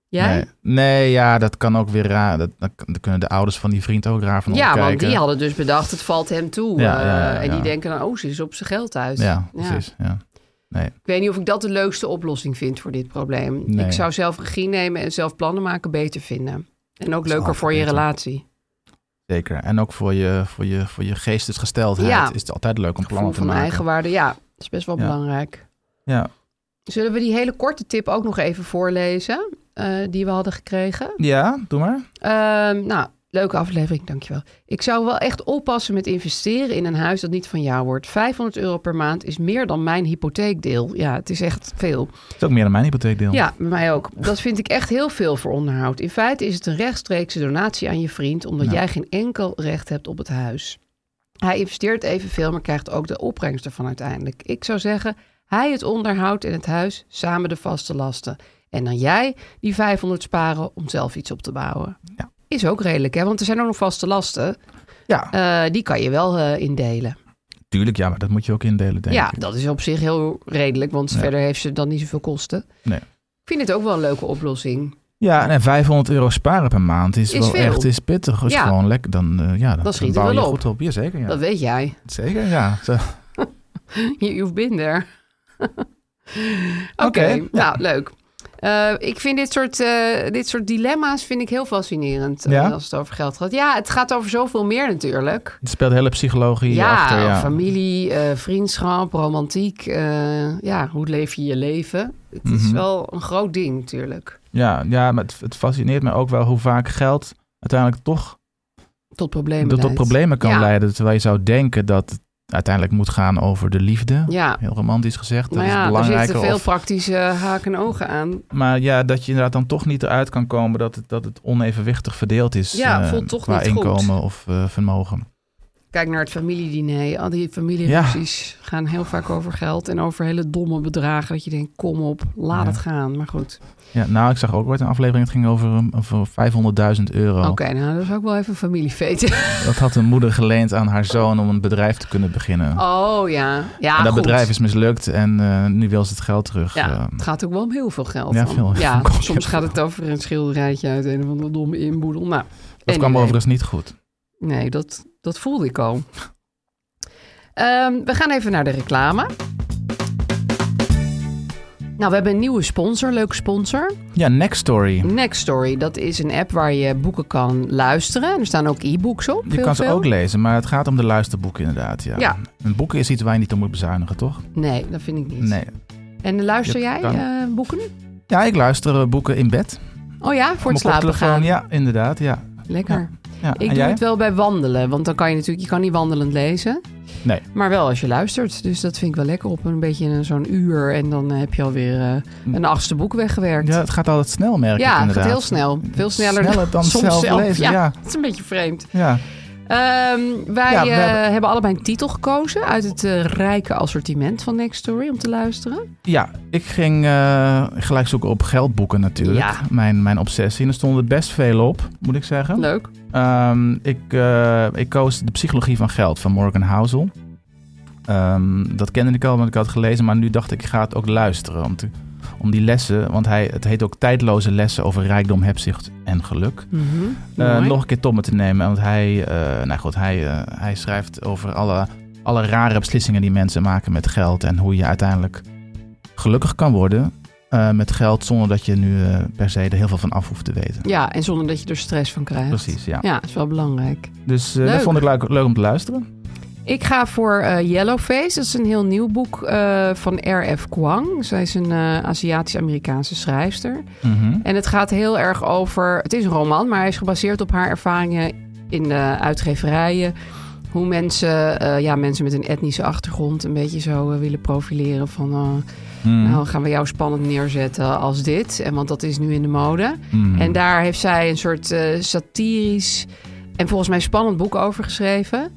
D: Jij?
E: Nee. Nee, ja, dat kan ook weer raar. Dat, dat, dan kunnen de ouders van die vriend ook raar van
D: Ja,
E: omkijken.
D: want die hadden dus bedacht, het valt hem toe.
E: Ja, ja, ja,
D: eh, en die
E: ja.
D: denken dan, oh, ze is op zijn geld uit.
E: Ja, precies. Ja. Nee.
D: Ik weet niet of ik dat de leukste oplossing vind voor dit probleem.
E: Nee.
D: Ik zou zelf regie nemen en zelf plannen maken beter vinden. En ook
E: is
D: leuker
E: altijd
D: voor je
E: beter.
D: relatie.
E: Zeker. En ook voor je, voor je, voor je geestesgesteldheid
D: Ja.
E: is het altijd leuk om
D: Gevoel
E: plannen te
D: van
E: maken.
D: eigenwaarde, ja, dat is best wel
E: Ja.
D: belangrijk.
E: Ja.
D: Zullen we die hele korte tip ook nog even voorlezen, eh, die we hadden gekregen?
E: ja, doe maar.
D: Ehm, nou, leuke aflevering, dankjewel. Ik zou wel echt oppassen met investeren in een huis dat niet van jou wordt. 500 euro per maand is meer dan mijn hypotheekdeel. Ja, het is echt veel.
E: Het is ook meer dan mijn hypotheekdeel.
D: Ja, bij mij ook. Dat vind ik echt heel veel voor onderhoud. In feite is het een rechtstreekse donatie aan je vriend, omdat
E: Ja.
D: jij geen enkel recht hebt op het huis. Hij investeert evenveel, maar krijgt ook de opbrengst ervan uiteindelijk. Ik zou zeggen, hij het onderhoud en het huis, samen de vaste lasten. En dan jij die 500 sparen om zelf iets op te bouwen.
E: Ja.
D: Is ook redelijk, hè? Want er zijn ook nog vaste lasten.
E: Ja.
D: Eh, die kan je wel eh, indelen.
E: Tuurlijk, ja, maar dat moet je ook indelen, denk
D: ja,
E: ik.
D: dat is op zich heel redelijk, want
E: Ja.
D: verder heeft ze dan niet zoveel kosten.
E: Nee.
D: Ik vind het ook wel een leuke oplossing.
E: Ja, en 500 euro sparen per maand is,
D: Is
E: wel
D: veel.
E: echt is pittig. Is
D: Ja.
E: gewoon lekker. Dan, eh, ja, dan,
D: Dan schiet het
E: bouw
D: wel
E: je
D: op.
E: goed op. Ja, zeker. Ja.
D: Dat weet jij.
E: Zeker, ja. Zo.
D: You- You've been there. Oké,
E: Oké, ja.
D: nou leuk. Eh, ik vind dit soort, eh, dit soort dilemma's vind ik heel fascinerend eh,
E: Ja?
D: als het over geld gaat. Ja, het gaat over zoveel meer natuurlijk.
E: Het speelt hele psychologie
D: ja,
E: achter. Ja,
D: familie, eh, vriendschap, romantiek. eh, ja, hoe leef je je leven? Het is
E: Mhm.
D: wel een groot ding natuurlijk.
E: ja, ja maar het, het fascineert me ook wel hoe vaak geld uiteindelijk toch
D: Tot problemen
E: tot, tot
D: leidt.
E: problemen kan
D: Ja.
E: leiden. Terwijl je zou denken dat het uiteindelijk moet gaan over de liefde.
D: Ja,
E: Heel romantisch gezegd. Dat
D: maar ja,
E: is
D: er zitten
E: belangrijker.
D: veel
E: of-
D: praktische haken en ogen aan.
E: maar ja, dat je inderdaad dan toch niet eruit kan komen dat het, dat het onevenwichtig verdeeld is.
D: Ja,
E: eh,
D: voelt toch
E: qua
D: niet goed.
E: inkomen of eh, vermogen.
D: Kijk naar het familiediner. Al die familieruzies gaan heel vaak over geld en over hele domme bedragen. Dat je denkt, kom op, laat
E: Ja.
D: het gaan. Maar goed,
E: Ja, nou, ik zag ook ooit een aflevering. Het ging over, um, over 500.000 euro.
D: oké, nou dat is ook wel even familiefeest.
E: Dat had een moeder geleend aan haar zoon om een bedrijf te kunnen beginnen.
D: oh ja, ja
E: en dat
D: goed.
E: bedrijf is mislukt en eh, nu wil ze het geld terug. eh.
D: Ja, het gaat ook wel om heel veel geld.
E: Ja,
D: dan.
E: veel-
D: ja
E: veel
D: soms
E: geld.
D: gaat het over een schilderijtje uit een of andere domme inboedel. Nou,
E: dat kwam
D: anyway.
E: overigens niet goed.
D: Nee, dat, dat voelde ik al. Ehm, we gaan even naar de reclame. Nou, we hebben een nieuwe sponsor, leuke sponsor.
E: Ja, Next Story.
D: Nextory, dat is een app waar je boeken kan luisteren. Er staan ook e-books op.
E: Je
D: heel
E: kan ze
D: veel.
E: ook lezen, maar het gaat om de luisterboeken inderdaad. Ja.
D: Ja.
E: En boeken is iets waar je niet om moet bezuinigen, toch?
D: Nee, dat vind ik niet.
E: Nee.
D: En luister
E: Je
D: jij
E: kan-
D: eh, boeken?
E: Ja, ik luister eh, boeken in bed.
D: Oh ja, voor het
E: Op mijn
D: slapen gaan.
E: koptelefoon, Ja, inderdaad. Ja.
D: Lekker.
E: Ja.
D: Ik
E: Ah, en
D: doe
E: jij?
D: het wel bij wandelen, want dan kan je natuurlijk, je kan niet wandelend lezen.
E: Nee.
D: Maar wel als je luistert. Dus dat vind ik wel lekker op een beetje in zo'n uur. En dan heb je alweer eh, een achtste boek weggewerkt.
E: Mm. Ja, het gaat altijd snel, merk ik
D: Ja, het
E: inderdaad.
D: gaat heel snel. Veel sneller,
E: Sneller dan
D: soms
E: zelf lezen, ja.
D: Het is een beetje vreemd.
E: Ja.
D: Ehm, wij
E: Ja, we
D: eh, hebben...
E: hebben-
D: allebei een titel gekozen uit het eh, rijke assortiment van Next Story om te luisteren.
E: Ja, ik ging eh, gelijk zoeken op geldboeken natuurlijk.
D: Ja.
E: Mijn, mijn obsessie. En er stonden best veel op, moet ik zeggen.
D: Leuk.
E: Ehm, ik, eh, ik koos De Psychologie van Geld van Morgan Housel. Ehm, dat kende ik al, want ik had het gelezen. Maar nu dacht ik, ik ga het ook luisteren. Om, te- om die lessen, want hij, het heet ook Tijdloze Lessen over Rijkdom, Hebzicht en Geluk. Eh,
D: Mhm. Mooi.
E: nog een keer Tomme te nemen. Want hij, eh, nou goed, hij, eh, hij schrijft over alle, alle rare beslissingen die mensen maken met geld. En hoe je uiteindelijk gelukkig kan worden eh, met geld. Zonder dat je nu eh, per se er heel veel van af hoeft te weten.
D: Ja, en zonder dat je er stress van krijgt.
E: Precies, ja.
D: Ja, is wel belangrijk.
E: Dus eh,
D: Leuk.
E: dat vond ik leuk, leuk om te luisteren.
D: Ik ga voor eh, Yellowface. Dat is een heel nieuw boek eh, van R.F. Kwang. Zij is een eh, Aziatisch-Amerikaanse schrijfster. En het gaat heel erg over. Het is een roman, maar hij is gebaseerd op haar ervaringen in de uitgeverijen. Hoe mensen, eh, ja, mensen met een etnische achtergrond een beetje zo eh, willen profileren. Van eh,
E: Hmm.
D: nou gaan we jou spannend neerzetten als dit. En want dat is nu in de mode.
E: Hmm.
D: En daar heeft zij een soort eh, satirisch en volgens mij spannend boek over geschreven.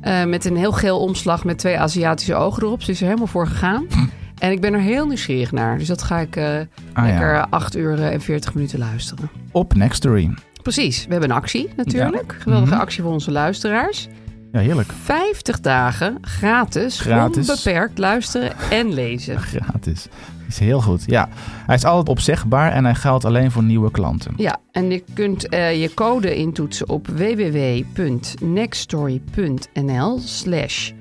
D: Eh, met een heel geel omslag met twee Aziatische ogen erop. Ze is er helemaal voor gegaan. En ik ben er heel nieuwsgierig naar. Dus dat ga ik eh,
E: Hm. Ah, ja.
D: lekker 8 uur eh, en 40 minuten luisteren.
E: Op Nextory.
D: Precies, we hebben een actie natuurlijk. Geweldige
E: Mhm.
D: actie voor onze luisteraars.
E: Ja, heerlijk.
D: 50 dagen gratis,
E: Gratis.
D: onbeperkt luisteren en lezen.
E: Gratis. Is heel goed. Ja, hij is altijd opzegbaar en hij geldt alleen voor nieuwe klanten.
D: Ja, en je kunt eh, je code intoetsen op www.nextstory.nl slash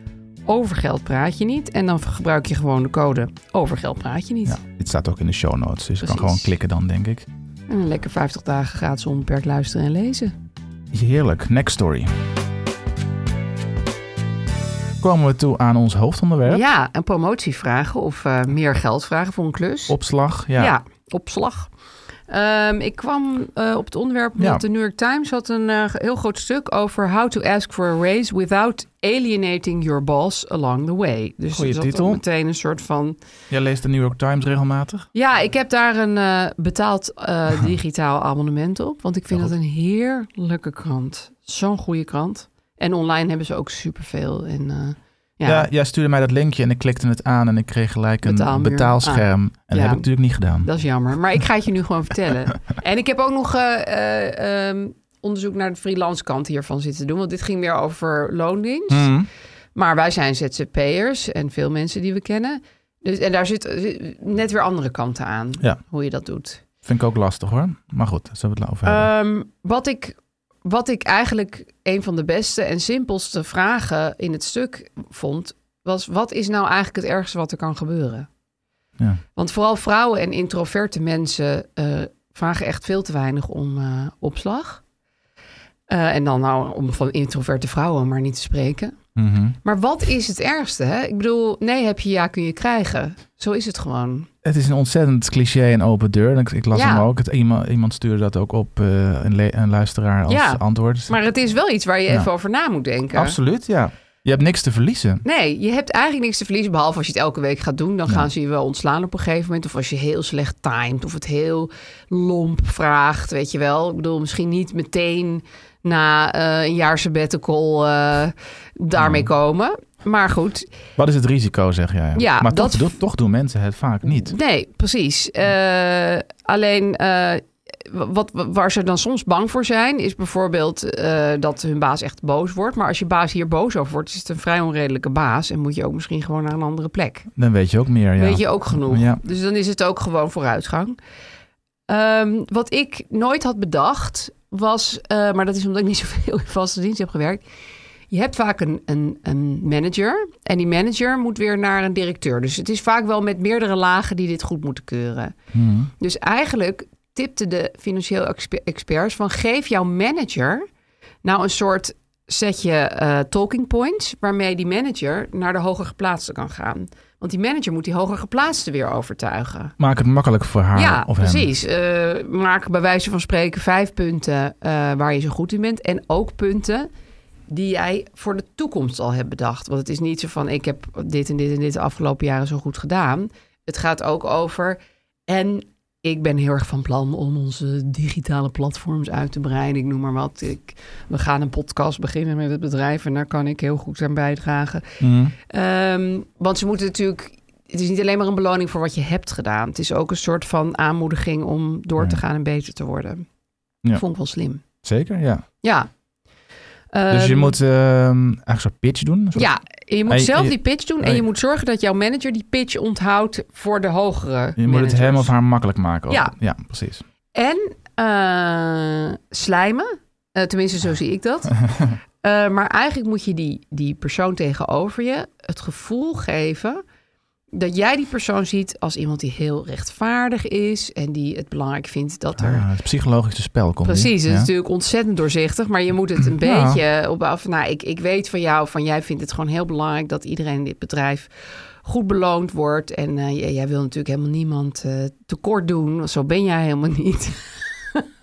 D: overgeld praat je niet. En dan gebruik je gewoon de code overgeld praat je niet.
E: Ja, dit staat ook in de show notes, dus je kan
D: Precies.
E: gewoon klikken dan, denk ik.
D: En een lekker 50 dagen gratis onbeperkt luisteren en lezen.
E: Heerlijk, next story. Komen we toe aan ons hoofdonderwerp.
D: Ja, en promotievragen of eh, meer geld vragen voor een klus.
E: Opslag, ja.
D: opslag. Ehm, ik kwam eh, op het onderwerp omdat
E: Ja.
D: de New York Times had een eh, heel groot stuk over how to ask for a raise without alienating your boss along the way. Dus
E: Goeie
D: er zat
E: titel.
D: ook meteen een soort van
E: Jij leest de New York Times regelmatig?
D: ja, ik heb daar een eh, betaald eh, digitaal abonnement op. Want ik vind dat een heerlijke krant. Zo'n goede krant. En online hebben ze ook superveel. En, eh, ja,
E: Ja. jij stuurde mij dat linkje en ik klikte het aan en ik kreeg gelijk een
D: Betaalmuur.
E: betaalscherm.
D: Ah,
E: en dat
D: ja.
E: heb ik natuurlijk niet gedaan.
D: dat is jammer. Maar ik ga het je nu gewoon vertellen. En ik heb ook nog eh, eh, ehm, onderzoek naar de freelance kant hiervan zitten doen. Want dit ging meer over loondienst.
E: Mhm.
D: Maar wij zijn ZZP'ers en veel mensen die we kennen. Dus, en daar zit eh, net weer andere kanten aan.
E: Ja.
D: Hoe je dat doet.
E: Vind ik ook lastig hoor. Maar goed, daar zullen we het over hebben.
D: Ehm, wat, ik, wat ik eigenlijk een van de beste en simpelste vragen in het stuk vond, was: wat is nou eigenlijk het ergste wat er kan gebeuren?
E: Ja.
D: Want vooral vrouwen en introverte mensen eh, vragen echt veel te weinig om eh, opslag. Eh, en dan nou om van introverte vrouwen maar niet te spreken.
E: Mhm.
D: Maar wat is het ergste? Hè? Ik bedoel, nee heb je ja, kun je krijgen. Zo is het gewoon.
E: Het is een ontzettend cliché en open deur. Ik, ik las
D: Ja.
E: hem ook. Het, iemand, iemand stuurde dat ook op, eh, een, le- een luisteraar als
D: Ja.
E: antwoord. Dus
D: Maar het is wel iets waar je
E: Ja.
D: even over na moet denken.
E: Absoluut, ja. Je hebt niks te verliezen.
D: Nee, je hebt eigenlijk niks te verliezen. Behalve als je het elke week gaat doen, dan gaan ze je wel ontslaan op een gegeven moment. Of als je heel slecht timed of het heel lomp vraagt, weet je wel. Ik bedoel, misschien niet meteen na eh, een jaar sabbatical eh, daarmee komen. Maar goed,
E: Wat is het risico, zeg jij?
D: Ja,
E: maar
D: dat-
E: toch, do- toch doen mensen het vaak niet.
D: nee, precies. Eh, alleen eh, wat, wat- waar ze dan soms bang voor zijn, is bijvoorbeeld eh, dat hun baas echt boos wordt. Maar als je baas hier boos over wordt, is het een vrij onredelijke baas. En moet je ook misschien gewoon naar een andere plek.
E: Dan weet je ook meer. Ja.
D: Weet je ook genoeg.
E: Ja.
D: Dus dan is het ook gewoon vooruitgang. Ehm, wat ik nooit had bedacht was, eh, maar dat is omdat ik niet zoveel in vaste dienst heb gewerkt, Je hebt vaak een, een, een manager en die manager moet weer naar een directeur. Dus het is vaak wel met meerdere lagen die dit goed moeten keuren.
E: Hmm.
D: Dus eigenlijk tipte de financieel exper- experts van geef jouw manager nou een soort setje eh, talking points waarmee die manager naar de hoger geplaatste kan gaan. Want die manager moet die hoger geplaatste weer overtuigen.
E: Maak het makkelijk voor haar
D: ja,
E: of hem.
D: precies. Eh, maak bij wijze van spreken vijf punten eh, waar je zo goed in bent. En ook punten die jij voor de toekomst al hebt bedacht. Want het is niet zo van ik heb dit en dit en dit de afgelopen jaren zo goed gedaan. Het gaat ook over en ik ben heel erg van plan om onze digitale platforms uit te breiden. Ik noem maar wat. Ik, we gaan een podcast beginnen met het bedrijf en daar kan ik heel goed aan bijdragen.
E: Hmm.
D: Ehm, want ze moeten natuurlijk. Het is niet alleen maar een beloning voor wat je hebt gedaan. Het is ook een soort van aanmoediging om door te
E: Ja.
D: gaan en beter te worden.
E: Ja.
D: Vond ik wel slim.
E: Zeker, ja.
D: Ja.
E: dus je
D: Ehm,
E: moet ehm eigenlijk een soort pitch doen. een soort-
D: Ja, en je moet
E: En je-
D: zelf
E: en je-
D: die pitch doen.
E: en
D: En je
E: je-
D: moet zorgen dat jouw manager die pitch onthoudt voor de hogere.
E: Je moet het hem
D: managers.
E: of haar makkelijk maken. ook.
D: Ja.
E: ja precies.
D: En eh, slijmen. Eh, tenminste, zo zie ik dat. Eh, maar eigenlijk moet je die, die persoon tegenover je het gevoel geven dat jij die persoon ziet als iemand die heel rechtvaardig is en die het belangrijk vindt dat er.
E: Ah, het psychologische spel komt. die.
D: Precies, het is
E: Ja.
D: natuurlijk ontzettend doorzichtig, maar je moet het een
E: Ja.
D: beetje op af. Nou, ik, ik weet van jou, van jij vindt het gewoon heel belangrijk dat iedereen in dit bedrijf goed beloond wordt. En eh, jij, jij wil natuurlijk helemaal niemand eh, tekort doen, want zo ben jij helemaal niet.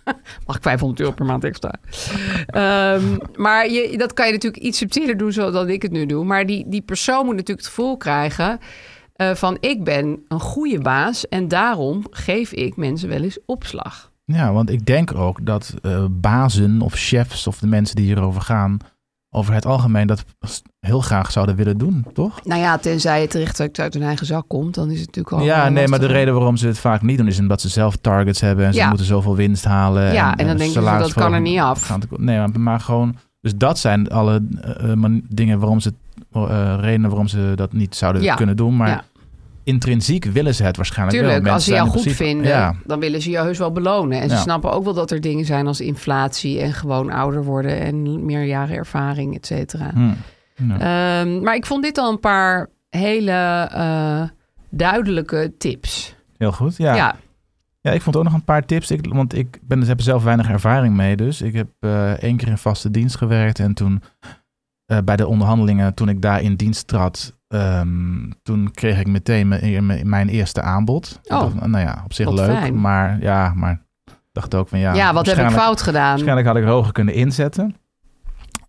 D: Mag ik 500 euro per maand extra? Ehm, maar je, dat kan je natuurlijk iets subtieler doen zoals dat ik het nu doe. Maar die, die persoon moet natuurlijk het gevoel krijgen eh, van ik ben een goede baas en daarom geef ik mensen wel eens opslag.
E: Ja, want ik denk ook dat eh, bazen of chefs of de mensen die hierover gaan, over het algemeen dat heel graag zouden willen doen, toch?
D: Nou ja, tenzij het rechtstreeks uit hun eigen zak komt, dan eh, is het natuurlijk al. al
E: ja, nee, maar de
D: lastiger.
E: reden waarom ze het vaak niet doen is omdat ze zelf targets hebben en
D: Ja.
E: ze moeten zoveel winst halen.
D: Ja, en dan
E: een
D: denken ze,
E: salaris
D: dat kan er niet af.
E: gaan te- Nee, maar, maar gewoon. Dus dat zijn alle eh, eh, man- dingen waarom ze, eh, redenen waarom ze dat niet zouden
D: Ja.
E: kunnen doen. Maar
D: Ja.
E: intrinsiek willen ze het waarschijnlijk wel.
D: Tuurlijk,
E: Mensen
D: als ze
E: zijn
D: jou
E: in
D: goed
E: principe-
D: vinden,
E: Ja,
D: dan willen ze jou heus wel belonen. En ze
E: Ja.
D: snappen ook wel dat er dingen zijn als inflatie en gewoon ouder worden en meer jaren ervaring, et cetera.
E: Hm. Ja.
D: Ehm, maar ik vond dit al een paar hele eh, duidelijke tips.
E: heel goed. Ja.
D: ja.
E: Ja, ik vond ook nog een paar tips. Ik, want ik ben, dus heb er zelf weinig ervaring mee. Dus ik heb eh, één keer in vaste dienst gewerkt. En toen eh, bij de onderhandelingen, toen ik daar in dienst trad, ehm, toen kreeg ik meteen mijn, mijn- mijn eerste aanbod. Ik
D: Oh,
E: dacht, nou ja, op zich
D: wat
E: leuk.
D: fijn.
E: Maar ja, maar dacht ook van ja.
D: Ja, wat heb ik
E: waarschijnlijk-
D: fout gedaan?
E: Waarschijnlijk had ik hoger kunnen inzetten.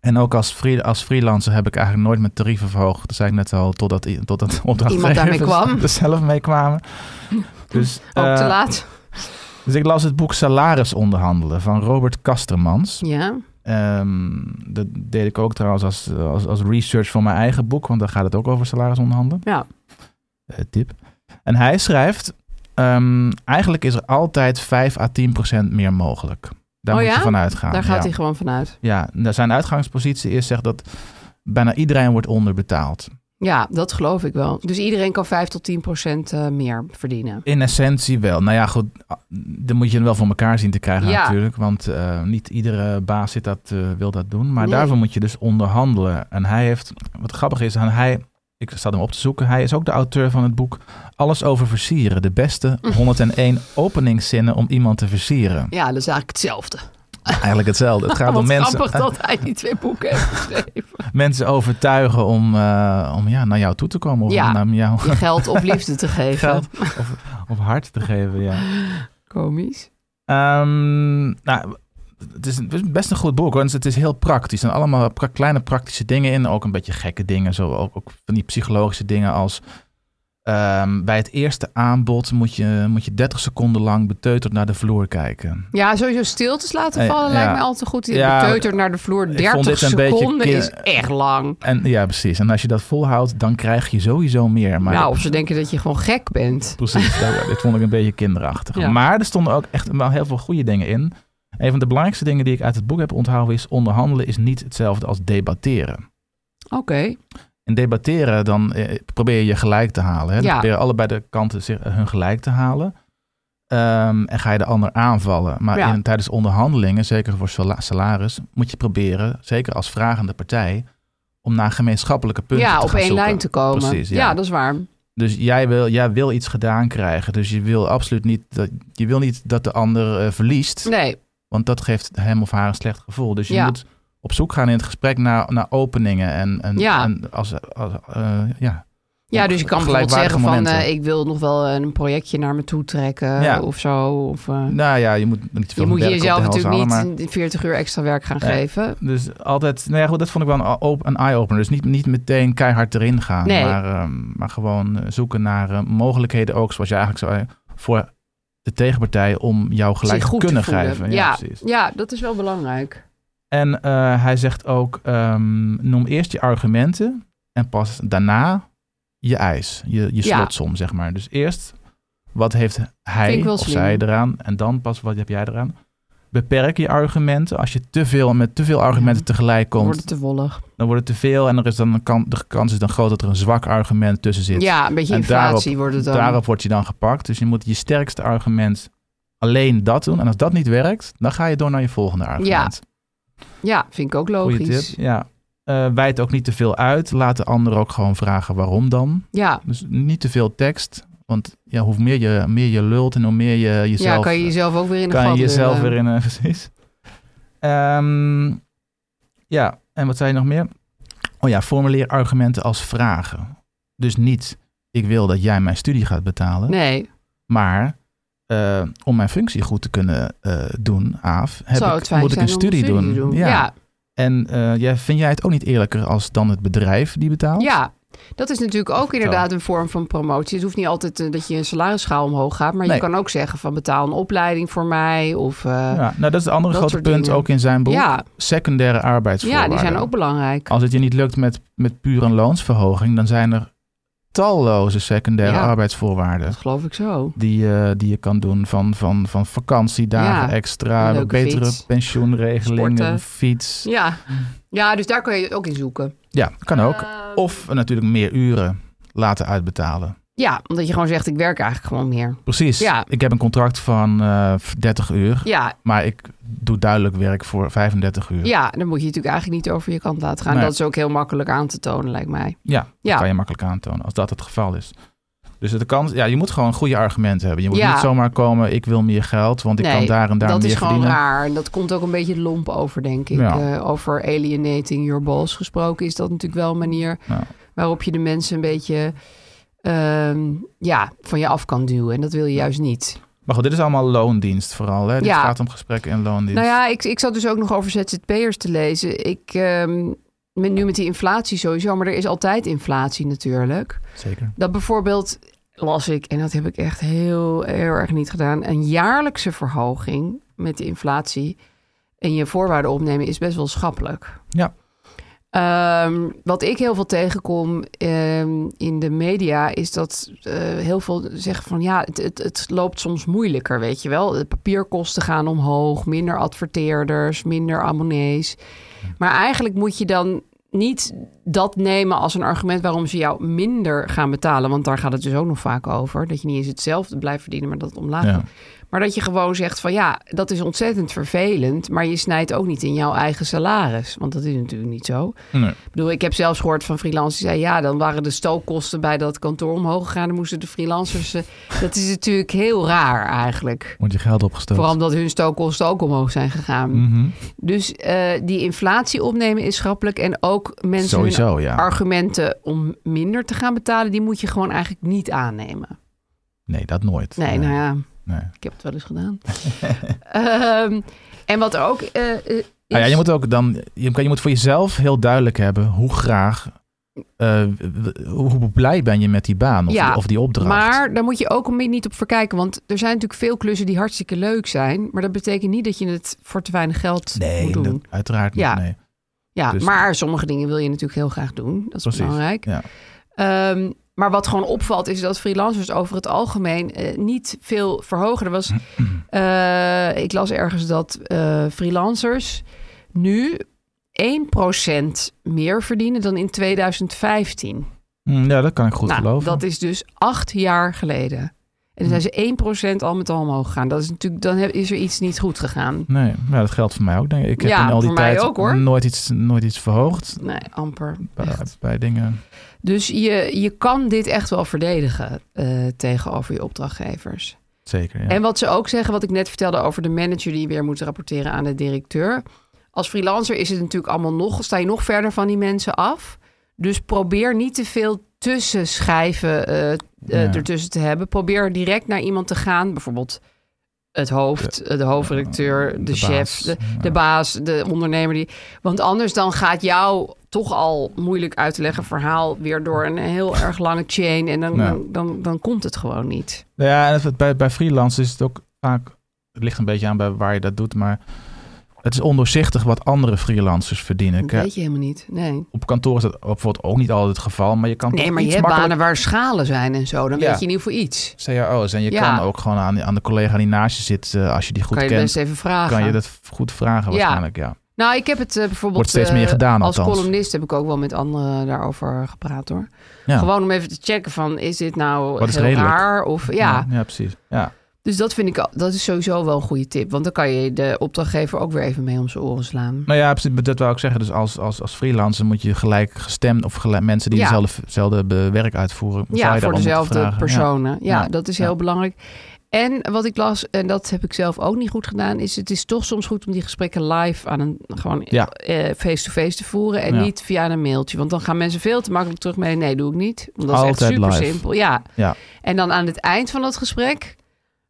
E: En ook als, free- als freelancer heb ik eigenlijk nooit mijn tarieven verhoogd. Dat zei ik net al, totdat, i- totdat opdrachtgevers
D: daarmee kwam.
E: er zelf mee kwamen. Dus,
D: Ook te
E: eh,
D: laat.
E: dus ik las het boek Salaris onderhandelen van Robert Kastermans.
D: Ja,
E: Ehm, dat deed ik ook trouwens als, als, als research van mijn eigen boek, want daar gaat het ook over salaris onderhandelen.
D: ja.
E: Eh, tip. En hij schrijft, ehm, eigenlijk is er altijd 5 à 10 procent meer mogelijk. Daar
D: Oh
E: moet
D: ja?
E: je van uitgaan.
D: daar gaat
E: Ah, ja.
D: hij gewoon vanuit.
E: Ja, nou, zijn uitgangspositie is zegt dat bijna iedereen wordt onderbetaald.
D: Ja, dat geloof ik wel. Dus iedereen kan 5 tot 10 procent eh, meer verdienen.
E: In essentie wel. Nou ja, goed, dan moet je hem wel voor elkaar zien te krijgen
D: Ja.
E: natuurlijk. Want eh, niet iedere baas zit dat, eh, wil dat doen. Maar
D: Nee.
E: daarvoor moet je dus onderhandelen. En hij heeft, wat grappig is, en hij, ik zat hem op te zoeken. Hij is ook de auteur van het boek Alles over versieren. De beste 101 openingszinnen om iemand te versieren.
D: Ja, dat is eigenlijk hetzelfde.
E: Eigenlijk hetzelfde. Het gaat
D: Wat
E: om mensen,
D: grappig dat hij die twee boeken heeft geschreven.
E: mensen overtuigen om, eh, om ja, naar jou toe te komen. Of
D: Ja.
E: naar jou.
D: Je geld of liefde te geven.
E: geld of, of hart te geven, ja.
D: Komisch.
E: Ehm, nou, het is, een- het is best een goed boek, hoor. Dus het is heel praktisch. Er zijn allemaal pra- kleine praktische dingen in. Ook een beetje gekke dingen. Zo, ook, ook van die psychologische dingen als... ehm, bij het eerste aanbod moet je, moet je 30 seconden lang beteuterd naar de vloer kijken.
D: Ja, sowieso stiltes laten
E: Eh,
D: vallen
E: ja.
D: lijkt me al te goed. Je
E: Ja,
D: beteutert naar de vloer.
E: ik vond
D: 30
E: dit een beetje
D: seconden
E: ki-
D: is echt lang.
E: En, ja, precies. En als je dat volhoudt, dan krijg je sowieso meer. Maar
D: nou, of ze denken dat je gewoon gek bent.
E: Precies, dat- dit vond ik een beetje kinderachtig.
D: Ja.
E: Maar er stonden ook echt wel heel veel goede dingen in. Een van de belangrijkste dingen die ik uit het boek heb onthouden is... onderhandelen is niet hetzelfde als debatteren.
D: Oké.
E: En debatteren, dan eh, probeer je je gelijk te halen. Hè? Dan
D: Ja.
E: probeer je allebei de kanten zich, eh, hun gelijk te halen. Ehm, en ga je de ander aanvallen. Maar
D: Ja.
E: in, tijdens onderhandelingen, zeker voor sala- salaris, moet je proberen, zeker als vragende partij, om naar gemeenschappelijke punten
D: ja,
E: te
D: op
E: gaan
D: één
E: zoeken.
D: lijn te komen.
E: Precies,
D: ja.
E: ja.
D: dat is waar.
E: Dus jij wil, jij wil iets gedaan krijgen. Dus je wil absoluut niet dat, je wil niet dat de ander eh, verliest.
D: Nee.
E: Want dat geeft hem of haar een slecht gevoel. Dus je
D: Ja.
E: moet op zoek gaan in het gesprek naar, naar openingen. En, en,
D: Ja.
E: en als, als, eh, ja.
D: Ja, dus je kan bijvoorbeeld
E: Gelijkwaardige
D: zeggen van
E: momenten.
D: eh, ik wil nog wel een projectje naar me toe trekken
E: Ja.
D: of zo. Of, eh,
E: nou ja, je moet niet te veel
D: je moet
E: werk op de
D: jezelf
E: hals
D: natuurlijk niet
E: halen, maar-
D: een 40 uur extra werk gaan
E: Nee.
D: geven.
E: Dus altijd, nou ja, goed, dat vond ik wel een, op- een eye-opener. Dus niet, niet meteen keihard erin gaan,
D: Nee.
E: maar, ehm, maar gewoon eh, zoeken naar eh, mogelijkheden ook, zoals je eigenlijk zou voor de tegenpartij om jou gelijk
D: Zich
E: te
D: goed
E: kunnen
D: te voelen.
E: grijpen.
D: Ja,
E: precies.
D: ja, dat is wel belangrijk.
E: En eh, hij zegt ook, ehm, noem eerst je argumenten en pas daarna je eis, je, je
D: Ja.
E: slotsom, zeg maar. Dus eerst, wat heeft hij
D: Vind ik wel
E: of
D: slim.
E: zij eraan? En dan pas, wat heb jij eraan? Beperk je argumenten. Als je te veel, met te veel argumenten tegelijk komt,
D: Wordt het te wollig.
E: dan wordt het te veel en er is dan een kan, de kans is dan groot dat er een zwak argument tussen zit.
D: Ja, een beetje
E: En
D: inflatie wordt het dan.
E: Daarop word je dan gepakt. Dus je moet je sterkste argument alleen dat doen. En als dat niet werkt, dan ga je door naar je volgende
D: Ja.
E: argument.
D: ja, vind ik ook
E: Goeie
D: logisch.
E: tip. Ja. Eh wijd ook niet te veel uit. Laat de ander ook gewoon vragen waarom dan.
D: Ja.
E: Dus niet te veel tekst. Want ja, hoe meer je, meer je lult en hoe meer je jezelf... eh,
D: ja, kan je jezelf ook weer in de
E: kan
D: gat
E: je jezelf
D: lullen.
E: weer in... eh, precies. Ehm, ja, en wat zei je nog meer? Oh ja, formuleer argumenten als vragen. Dus niet, ik wil dat jij mijn studie gaat betalen.
D: Nee.
E: Maar eh, om mijn functie goed te kunnen eh, doen, Aaf, heb
D: Zou
E: ik-
D: het fijn
E: moet ik
D: zijn
E: een
D: om een
E: studie,
D: studie te
E: doen.
D: doen? Ja.
E: En eh, jij, vind jij het ook niet eerlijker als dan het bedrijf die betaalt?
D: Ja, dat is natuurlijk ook inderdaad een vorm van promotie. Het hoeft niet altijd eh, dat je een salarisschaal omhoog gaat, maar
E: Nee.
D: je kan ook zeggen van betaal een opleiding voor mij of eh,
E: Ja, nou, dat is een ander
D: dat
E: grote
D: soort
E: punt
D: dingen.
E: ook in zijn boek.
D: Ja.
E: Secundaire arbeidsvoorwaarden.
D: Ja, die zijn ook belangrijk.
E: Als het je niet lukt met, met puur een loonsverhoging, dan zijn er talloze secundaire
D: Ja.
E: arbeidsvoorwaarden. Dat
D: geloof ik zo.
E: Die, eh, die je kan doen van, van, van vakantiedagen
D: Ja, een
E: extra,
D: leuke
E: betere
D: fiets.
E: pensioenregelingen,
D: Sporten.
E: fiets.
D: Ja. ja, dus daar kan je het ook in zoeken.
E: Ja, kan ook. Of natuurlijk meer uren laten uitbetalen.
D: Ja, omdat je gewoon zegt ik werk eigenlijk gewoon meer.
E: Precies.
D: Ja,
E: Ik heb een contract van eh, 30 uur,
D: ja.
E: maar ik doe duidelijk werk voor 35 uur.
D: Ja, dan moet je het natuurlijk eigenlijk niet over je kant laten gaan.
E: Nee.
D: Dat is ook heel makkelijk aan te tonen, lijkt mij.
E: Ja, dat
D: Ja.
E: kan je makkelijk aantonen als dat het geval is. Dus de kans, ja, je moet gewoon goede argumenten hebben. Je moet
D: Ja.
E: niet zomaar komen, ik wil meer geld, want ik
D: Nee,
E: kan daar en daar
D: dat
E: meer
D: is gewoon
E: verdienen.
D: raar. En dat komt ook een beetje lomp over, denk ik.
E: Ja.
D: Eh, over alienating your boss gesproken is dat natuurlijk wel een manier
E: Ja.
D: waarop je de mensen een beetje ehm, ja, van je af kan duwen. En dat wil je juist niet.
E: Maar goed, dit is allemaal loondienst vooral. Hè? Dit
D: Ja.
E: gaat om gesprekken in loondienst.
D: Nou ja, ik, ik zat dus ook nog over ZZP'ers te lezen. Ik, ehm, met, nu met die inflatie sowieso, maar er is altijd inflatie natuurlijk.
E: Zeker.
D: Dat bijvoorbeeld, las ik, en dat heb ik echt heel, heel erg niet gedaan, een jaarlijkse verhoging met de inflatie en je voorwaarden opnemen is best wel schappelijk.
E: Ja.
D: Ehm, wat ik heel veel tegenkom ehm, in de media is dat eh, heel veel zeggen van ja, het, het, het loopt soms moeilijker, weet je wel. De papierkosten gaan omhoog, minder adverteerders, minder abonnees. Maar eigenlijk moet je dan niet dat nemen als een argument waarom ze jou minder gaan betalen. Want daar gaat het dus ook nog vaak over. Dat je niet eens hetzelfde blijft verdienen, maar dat het omlaag
E: Ja.
D: gaat. Maar dat je gewoon zegt van ja, dat is ontzettend vervelend. Maar je snijdt ook niet in jouw eigen salaris. Want dat is natuurlijk niet zo.
E: Nee.
D: Ik bedoel, ik heb zelfs gehoord van freelancers die zeiden... ja, dan waren de stookkosten bij dat kantoor omhoog gegaan. Dan moesten de freelancers... eh, dat is natuurlijk heel raar eigenlijk.
E: Wordt je geld opgestoken.
D: Vooral omdat hun stookkosten ook omhoog zijn gegaan.
E: Mhm.
D: Dus eh, die inflatie opnemen is schappelijk. En ook mensen
E: Sowieso,
D: hun
E: ja.
D: argumenten om minder te gaan betalen... die moet je gewoon eigenlijk niet aannemen.
E: Nee, dat nooit.
D: Nee, nou ja,
E: Nee.
D: ik heb het wel eens gedaan. Ehm, en wat er ook eh, eh, is...
E: Nou ja, je moet ook dan, je, je moet voor jezelf heel duidelijk hebben hoe graag, eh, w- hoe, hoe blij ben je met die baan of,
D: Ja,
E: of die opdracht.
D: Maar daar moet je ook een beetje niet op verkijken. Want er zijn natuurlijk veel klussen die hartstikke leuk zijn. Maar dat betekent niet dat je het voor te weinig geld
E: nee,
D: moet doen.
E: dat- uiteraard niet.
D: Ja.
E: Nee.
D: Ja,
E: Dus-
D: maar sommige dingen wil je natuurlijk heel graag doen. Dat is
E: Precies,
D: belangrijk.
E: ja.
D: Ehm, maar wat gewoon opvalt is dat freelancers over het algemeen eh, niet veel verhogen. Er was, eh, ik las ergens dat eh, freelancers nu 1% meer verdienen dan in 2015.
E: Hm, Ja, dat kan ik goed
D: nou,
E: geloven.
D: dat is dus acht jaar geleden. En dan zijn ze 1% al met al omhoog gegaan. Dat is natuurlijk, dan heb- is er iets niet goed gegaan.
E: Nee, maar dat geldt voor mij ook. Denk ik. ik heb
D: Ja,
E: in al die
D: voor mij
E: tijd
D: ook, hoor.
E: Nooit, iets, nooit iets verhoogd
D: Nee, amper.
E: bij, bij dingen.
D: Dus je, je kan dit echt wel verdedigen eh, tegenover je opdrachtgevers.
E: Zeker, ja.
D: En wat ze ook zeggen, wat ik net vertelde over de manager die weer moet rapporteren aan de directeur. Als freelancer is het natuurlijk allemaal nog, sta je nog verder van die mensen af. Dus probeer niet te veel tussenschijven eh, eh,
E: Ja.
D: ertussen te hebben. Probeer direct naar iemand te gaan, bijvoorbeeld het hoofd, eh, de hoofdredacteur, de,
E: de
D: chef,
E: baas,
D: de, de baas, de ondernemer. Die, want anders dan gaat jouw toch al moeilijk uit te leggen verhaal weer door een heel erg lange chain. En dan,
E: Ja.
D: dan, dan, dan komt het gewoon niet.
E: Nou Ja, en het- bij, bij freelance is het ook vaak. Het ligt een beetje aan bij waar je dat doet, maar het is ondoorzichtig wat andere freelancers verdienen.
D: Dat
E: Kijk,
D: weet je helemaal niet. Nee.
E: Op kantoor is dat ook bijvoorbeeld ook niet altijd het geval, maar je kan
D: Nee,
E: toch
D: maar je
E: iets
D: hebt
E: makkelijk-
D: banen waar schalen zijn en zo. Dan
E: Ja.
D: weet je in ieder geval iets.
E: CAO's en je
D: Ja.
E: kan ook gewoon aan, aan de collega die naast je zit, eh, als je die goed
D: Kan je
E: kent,
D: best even vragen.
E: kan je dat goed vragen
D: Ja.
E: waarschijnlijk, ja.
D: Nou, ik heb het eh, bijvoorbeeld...
E: Wordt steeds
D: eh,
E: meer gedaan,
D: Als
E: althans.
D: columnist heb ik ook wel met anderen daarover gepraat, hoor.
E: Ja.
D: Gewoon om even te checken van, is dit nou
E: Wat is
D: heel
E: redelijk?
D: raar? Of, ja.
E: ja. ja, precies. Ja.
D: Dus dat vind ik, al- dat is sowieso wel een goede tip. Want dan kan je de opdrachtgever ook weer even mee om zijn oren slaan.
E: Nou ja, precies, dat wou ik zeggen. Dus als, als, als freelancer moet je gelijk gestemd of gelijk- mensen die
D: Ja.
E: hetzelfde hetzelfde be- werk uitvoeren. zou je
D: Ja,
E: daarom
D: voor
E: moeten
D: dezelfde
E: vragen.
D: personen. Ja,
E: Ja.
D: dat is
E: Ja.
D: heel belangrijk. En wat ik las, en dat heb ik zelf ook niet goed gedaan, is het is toch soms goed om die gesprekken live aan een gewoon
E: Ja.
D: eh, face-to-face te voeren en
E: Ja.
D: niet via een mailtje. Want dan gaan mensen veel te makkelijk terug mee. Nee, doe ik niet. Want dat is
E: Altijd
D: echt super
E: live.
D: simpel. Ja.
E: Ja.
D: En dan aan het eind van dat gesprek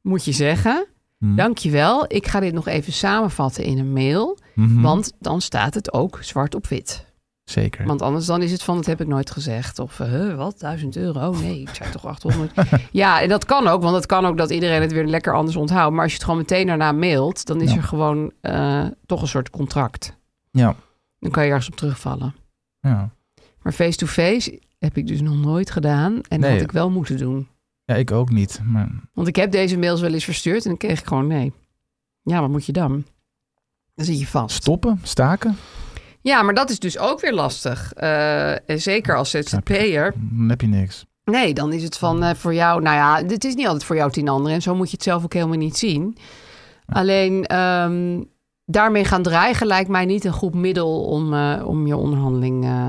D: moet je zeggen.
E: Hm.
D: Dankjewel, ik ga dit nog even samenvatten in een mail.
E: Mhm.
D: Want dan staat het ook zwart op wit.
E: Zeker.
D: Want anders dan is het van, dat heb ik nooit gezegd. Of, eh, wat, 1000 euro? Nee, ik zei toch 800. ja, en dat kan ook, want het kan ook dat iedereen het weer lekker anders onthoudt. Maar als je het gewoon meteen daarna mailt, dan is
E: Ja.
D: er gewoon eh, toch een soort contract.
E: Ja.
D: Dan kan je ergens op terugvallen.
E: Ja.
D: Maar face-to-face heb ik dus nog nooit gedaan. En dat
E: Nee.
D: had ik wel moeten doen.
E: ja, ik ook niet. Maar
D: Want ik heb deze mails wel eens verstuurd en dan kreeg ik gewoon nee. Ja, wat moet je dan? Dan zit je vast.
E: stoppen, staken,
D: Ja, maar dat is dus ook weer lastig. Eh, en zeker als ZZP'er.
E: dan Mm, heb je niks.
D: Nee, dan is het
E: Mm.
D: van eh, voor jou, nou ja, dit is niet altijd voor jou tien anderen. En zo moet je het zelf ook helemaal niet zien. Alleen ehm, daarmee gaan dreigen lijkt mij niet een goed middel om, eh, om je onderhandeling eh,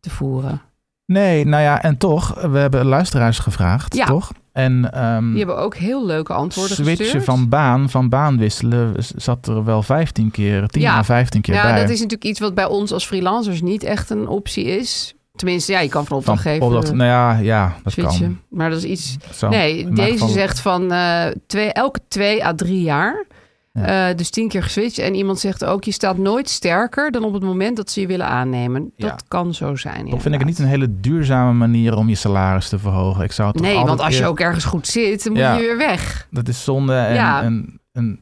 D: te
E: Mm.
D: voeren.
E: Nee, nou ja, en toch, we hebben luisteraars gevraagd,
D: Ja.
E: toch? En ehm,
D: Die hebben ook heel leuke antwoorden
E: switchen
D: gestuurd.
E: van baan, van baan wisselen, z- zat er wel 15 keer, 10 à 15 keer
D: ja,
E: bij.
D: dat is natuurlijk iets wat bij ons als freelancers niet echt een optie is. Tenminste, ja, je kan van
E: Van
D: opdrachtgever
E: opdracht- nou ja, ja, dat
D: switchen.
E: kan.
D: Maar dat is iets...
E: Zo, in
D: nee,
E: mijn
D: deze
E: geval-
D: zegt van eh, twee, elke twee à drie jaar.
E: Ja.
D: Eh, dus tien keer geswitcht. En iemand zegt ook, je staat nooit sterker dan op het moment dat ze je willen aannemen. Dat
E: Ja.
D: kan zo zijn.
E: Dat vind ik
D: inderdaad.
E: niet een hele duurzame manier om je salaris te verhogen. Ik zou het toch
D: Nee,
E: altijd
D: want als je
E: eer-
D: ook ergens goed zit, dan moet
E: Ja.
D: je weer weg.
E: Dat is zonde. En,
D: Ja.
E: en, en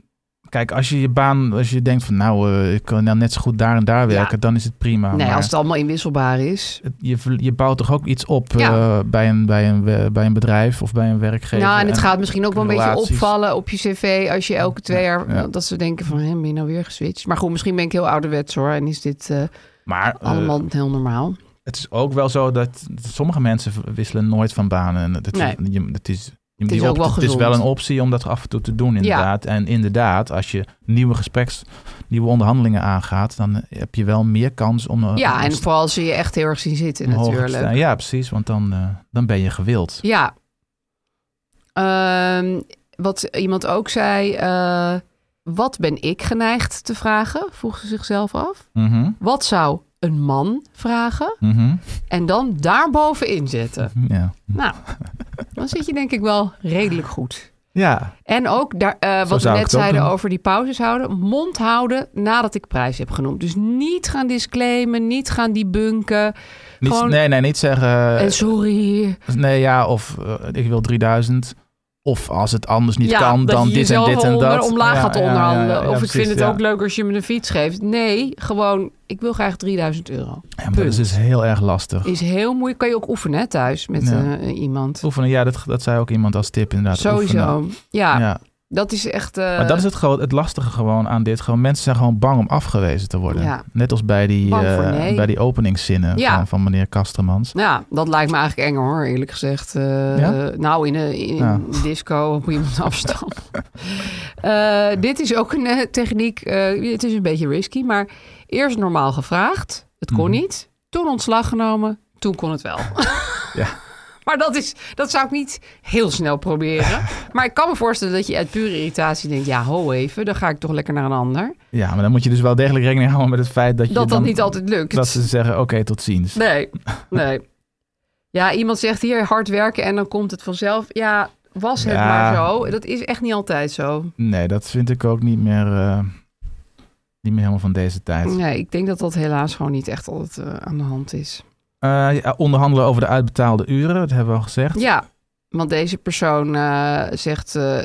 E: kijk, als je je baan, als je denkt van nou, eh, ik kan nou net zo goed daar en daar werken, dan is het prima.
D: nee,
E: maar
D: als het allemaal inwisselbaar is.
E: het- je, ver- je bouwt toch ook iets op
D: Ja.
E: eh, bij, een, bij, een, we- bij een bedrijf of bij een werkgever.
D: nou, en het gaat misschien ook wel een beetje
E: relaties.
D: opvallen op je cv als je elke twee jaar
E: ja.
D: dat ze denken van, hé, ben je nou weer geswitcht? Maar goed, misschien ben ik heel ouderwets hoor en is dit eh,
E: Maar eh,
D: allemaal heel normaal.
E: het is ook wel zo dat sommige mensen v- wisselen nooit van baan. En dat,
D: Nee.
E: je, dat is,
D: Het
E: die
D: is ook wel
E: het is
D: gezond.
E: wel een optie om dat af en toe te doen, inderdaad. En inderdaad, als je nieuwe gespreks, nieuwe onderhandelingen aangaat, dan eh, heb je wel meer kans om. eh,
D: ja,
E: om
D: en
E: st-
D: vooral als ze je echt heel erg zien zitten
E: omhoog te
D: natuurlijk.
E: staan. Ja, precies, want dan, eh, dan ben je gewild.
D: Ja. Ehm, wat iemand ook zei, eh, wat ben ik geneigd te vragen? Vroeg ze zichzelf af.
E: Mhm,
D: Wat zou een man vragen?
E: mhm,
D: En dan daarbovenin zetten.
E: ja.
D: Nou, dan zit je denk ik wel redelijk goed.
E: ja,
D: En ook daar, eh, wat we
E: zou ik
D: net
E: het ook
D: zeiden
E: doen.
D: over die pauzes houden. Mond houden nadat ik prijs heb genoemd. Dus niet gaan disclaimen, niet gaan debunken.
E: niet,
D: Gewoon-
E: nee, eh, nee, niet zeggen.
D: en sorry.
E: Nee, ja, of eh, ik wil 3000. Of als het anders niet
D: ja,
E: kan,
D: dat
E: dan
D: je
E: dit en
D: jezelf
E: dit en
D: onder-
E: dat.
D: omlaag
E: Ja,
D: gaat
E: ja, ja,
D: onderhandelen.
E: ja, ja,
D: of ik
E: precies,
D: vind het
E: ja.
D: ook leuk als je me een fiets geeft. Nee, gewoon, ik wil graag 3000 euro.
E: Ja, maar dat
D: Punt.
E: is dus heel erg lastig.
D: Is heel moeilijk. Kan je ook oefenen hè, thuis met
E: Ja.
D: eh, iemand.
E: Oefenen, ja, dat, dat zei ook iemand als tip inderdaad.
D: Sowieso.
E: oefenen.
D: Ja.
E: Ja.
D: Dat is echt... eh,
E: maar dat is het, gro- het lastige gewoon aan dit. Gewoon, mensen zijn gewoon bang om afgewezen te worden.
D: Ja.
E: Net als bij die,
D: Bang voor
E: eh,
D: nee.
E: bij die openingszinnen
D: Ja.
E: van, van meneer Kastermans.
D: Ja, dat lijkt me eigenlijk enger hoor, eerlijk gezegd. Eh,
E: Ja?
D: Nou, in een in
E: Ja.
D: een disco op iemand afstand. Eh, dit is ook een eh, techniek. eh, het is een beetje risky, maar eerst normaal gevraagd. Het
E: Mhm.
D: kon niet. Toen ontslag genomen. Toen kon het wel.
E: Ja.
D: maar dat, is, dat zou ik niet heel snel proberen. maar ik kan me voorstellen dat je uit pure irritatie denkt... ja, ho even, dan ga ik toch lekker naar een ander.
E: Ja, maar dan moet je dus wel degelijk rekening houden met het feit dat je
D: Dat dat
E: dan,
D: niet altijd lukt.
E: Dat ze zeggen, oké, tot ziens.
D: Nee, nee. Ja, iemand zegt hier hard werken en dan komt het vanzelf. Ja, was het
E: Ja.
D: maar zo. Dat is echt niet altijd zo.
E: Nee, dat vind ik ook niet meer, eh, niet meer helemaal van deze tijd.
D: Nee, ik denk dat dat helaas gewoon niet echt altijd eh, aan de hand is.
E: Eh, ja, onderhandelen over de uitbetaalde uren, dat hebben we al gezegd.
D: Ja, want deze persoon eh, zegt... eh,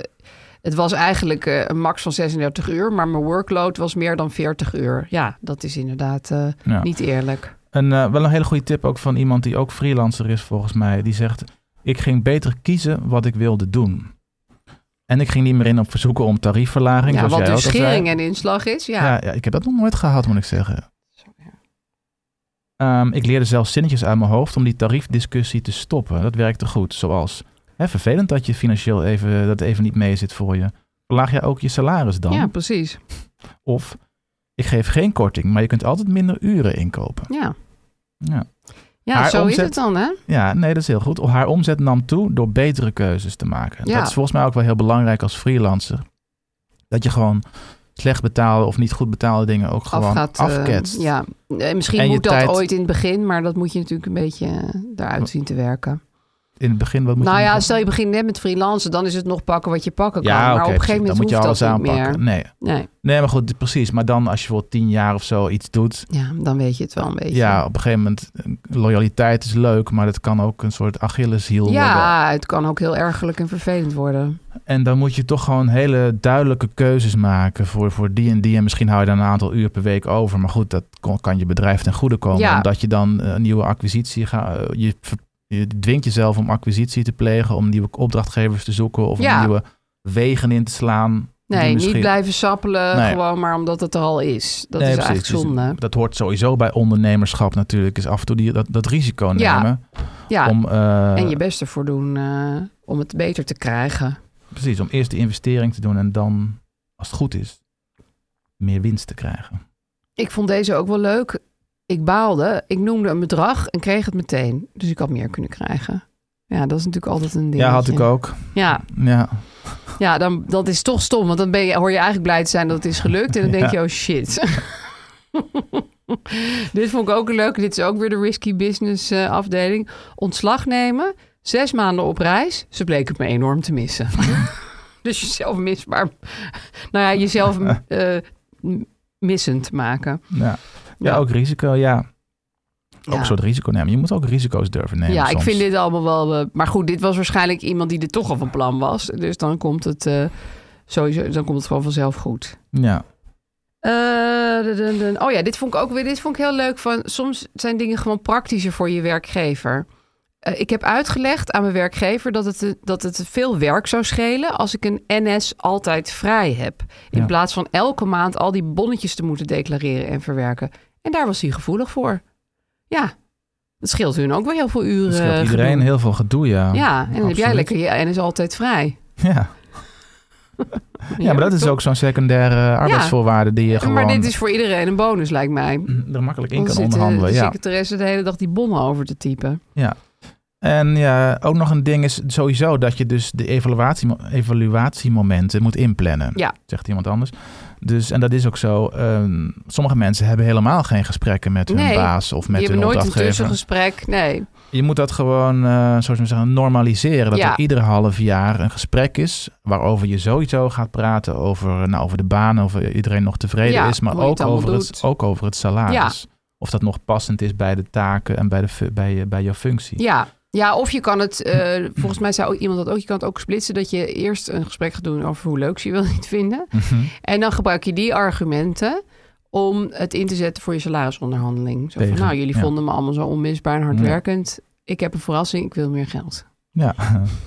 D: het was eigenlijk eh, een max van 36 uur, maar mijn workload was meer dan 40 uur. Ja, dat is inderdaad eh,
E: Ja.
D: niet eerlijk.
E: Een, eh, wel een hele goede tip ook van iemand die ook freelancer is volgens mij. Die zegt, ik ging beter kiezen wat ik wilde doen. En ik ging niet meer in op verzoeken om tariefverlaging.
D: Ja,
E: zoals
D: wat
E: jij
D: dus
E: ook al zei.
D: schering en inslag is, ja.
E: Ja. Ja, ik heb dat nog nooit gehad, moet ik zeggen. Ehm, ik leerde zelfs zinnetjes uit mijn hoofd om die tariefdiscussie te stoppen. Dat werkte goed, zoals... Hè, vervelend dat je financieel even, dat even niet mee zit voor je. Verlaag jij ook je salaris dan?
D: ja precies.
E: Of, ik geef geen korting, maar je kunt altijd minder uren inkopen.
D: Ja,
E: Ja.
D: ja
E: Haar
D: zo is
E: omzet-
D: het dan, hè?
E: ja, nee, dat is heel goed. Haar omzet nam toe door betere keuzes te maken.
D: Ja.
E: Dat is volgens mij ook wel heel belangrijk als freelancer. Dat je gewoon slecht betaalde of niet goed betaalde dingen ook gewoon
D: afgaat, eh,
E: afketst.
D: ja, Eh, misschien
E: En je
D: moet dat
E: tijd-
D: ooit in het begin, maar dat moet je natuurlijk een beetje eh, daaruit zien te werken.
E: In het begin, wat moet
D: Nou
E: je
D: ja,
E: doen?
D: stel je begint net met freelancen, dan is het nog pakken wat je pakken kan. maar
E: oké,
D: op een gegeven
E: precies.
D: moment
E: dan moet je
D: hoeft
E: alles
D: dat niet
E: aanpakken.
D: meer.
E: Nee.
D: Nee,
E: nee, maar goed, precies. Maar dan als je voor tien jaar of zo iets doet.
D: ja, dan weet je het wel een beetje.
E: Ja, op een gegeven moment, eh, loyaliteit is leuk, maar dat kan ook een soort Achilleshiel worden.
D: Ja, het kan ook heel ergerlijk en vervelend worden.
E: En dan moet je toch gewoon hele duidelijke keuzes maken voor, voor die en die. En misschien hou je daar een aantal uur per week over. Maar goed, dat kon- kan je bedrijf ten goede komen.
D: Ja.
E: Omdat je dan eh, een nieuwe acquisitie gaat. eh, Je, ver- je dwingt jezelf om acquisitie te plegen, om nieuwe opdrachtgevers te zoeken of om
D: Ja.
E: nieuwe wegen in te slaan. die
D: Nee, niet
E: misschien-
D: blijven sappelen,
E: Nee.
D: gewoon maar omdat het er al is. Dat
E: Nee,
D: is
E: precies.
D: eigenlijk zonde.
E: Dus dat hoort sowieso bij ondernemerschap natuurlijk. Is af en toe die, dat, dat risico
D: Ja.
E: nemen.
D: Ja,
E: Om, eh,
D: en je best ervoor doen eh, om het beter te krijgen.
E: Precies, om eerst de investering te doen en dan, als het goed is, meer winst te krijgen.
D: Ik vond deze ook wel leuk. Ik baalde, ik noemde een bedrag en kreeg het meteen. Dus ik had meer kunnen krijgen. Ja, dat is natuurlijk altijd een ding.
E: Ja, had ik ook.
D: Ja,
E: Ja,
D: ja dan, dat is toch stom. Want dan ben je, hoor je eigenlijk blij te zijn dat het is gelukt. En dan denk
E: Ja.
D: je, oh shit. Dit vond ik ook leuk. Dit is ook weer de risky business eh, afdeling. Ontslag nemen, zes maanden op reis. Ze bleek het me enorm te missen. dus jezelf misbaar... Nou ja, jezelf eh, m- missend maken.
E: ja. ja ook risico, ja. Ook
D: Ja.
E: een soort risico nemen. Je moet ook risico's durven nemen
D: ja, ik
E: soms.
D: vind dit allemaal wel. eh, maar goed, dit was waarschijnlijk iemand die er toch al van plan was. Dus dan komt het eh, sowieso, dan komt het gewoon vanzelf goed.
E: Ja,
D: Eh, dun, dun, dun. oh ja, dit vond ik ook weer. Dit vond ik heel leuk. Van soms zijn dingen gewoon praktischer voor je werkgever. Eh, ik heb uitgelegd aan mijn werkgever dat het, eh, dat het veel werk zou schelen als ik een NS altijd vrij heb. In
E: Ja.
D: plaats van elke maand al die bonnetjes te moeten declareren en verwerken. En daar was hij gevoelig voor. Ja, dat scheelt hun ook wel heel veel uren.
E: dat scheelt iedereen
D: eh, gedoe.
E: heel veel gedoe, ja.
D: Ja, en dan heb jij
E: Oh, Absoluut.
D: lekker je en is altijd vrij.
E: Ja. ja, maar dat is
D: toch?
E: ook zo'n secundaire eh, arbeidsvoorwaarde die je gewoon mm,
D: Maar dit is voor iedereen een bonus, lijkt mij.
E: er makkelijk in
D: Dan zit
E: kan
D: de-
E: onderhandelen.
D: de
E: Ja.
D: secretaresse de hele dag die bonnen over te typen.
E: Ja. En ja, ook nog een ding is sowieso dat je dus de evaluatie, evaluatiemomenten moet inplannen.
D: Ja.
E: Zegt iemand anders. Dus, en dat is ook zo. ehm, sommige mensen hebben helemaal geen gesprekken met hun
D: Nee,
E: baas of met
D: je
E: hun
D: hebt nooit een
E: opdrachtgever.
D: tussengesprek. Nee,
E: Je moet dat gewoon, eh, zoals we zeggen, normaliseren. Dat
D: Ja.
E: er iedere half jaar een gesprek is waarover je sowieso gaat praten over, nou, over de baan, over iedereen nog tevreden
D: Ja,
E: is, maar
D: hoe je het
E: ook over,
D: allemaal
E: het,
D: doet.
E: ook over het salaris. Of dat nog passend is bij de taken en bij, de, fu- bij, je- bij jouw functie.
D: ja. Ja, of je kan het, eh, volgens mij zou iemand dat ook, je kan het ook splitsen dat je eerst een gesprek gaat doen over hoe leuk ze je wel niet vinden.
E: Mhm.
D: En dan gebruik je die argumenten om het in te zetten voor je salarisonderhandeling. Zo van,
E: Tegen,
D: nou, jullie
E: ja.
D: vonden me allemaal zo onmisbaar en
E: Ja.
D: hardwerkend. Ik heb een verrassing, ik wil meer geld.
E: Ja.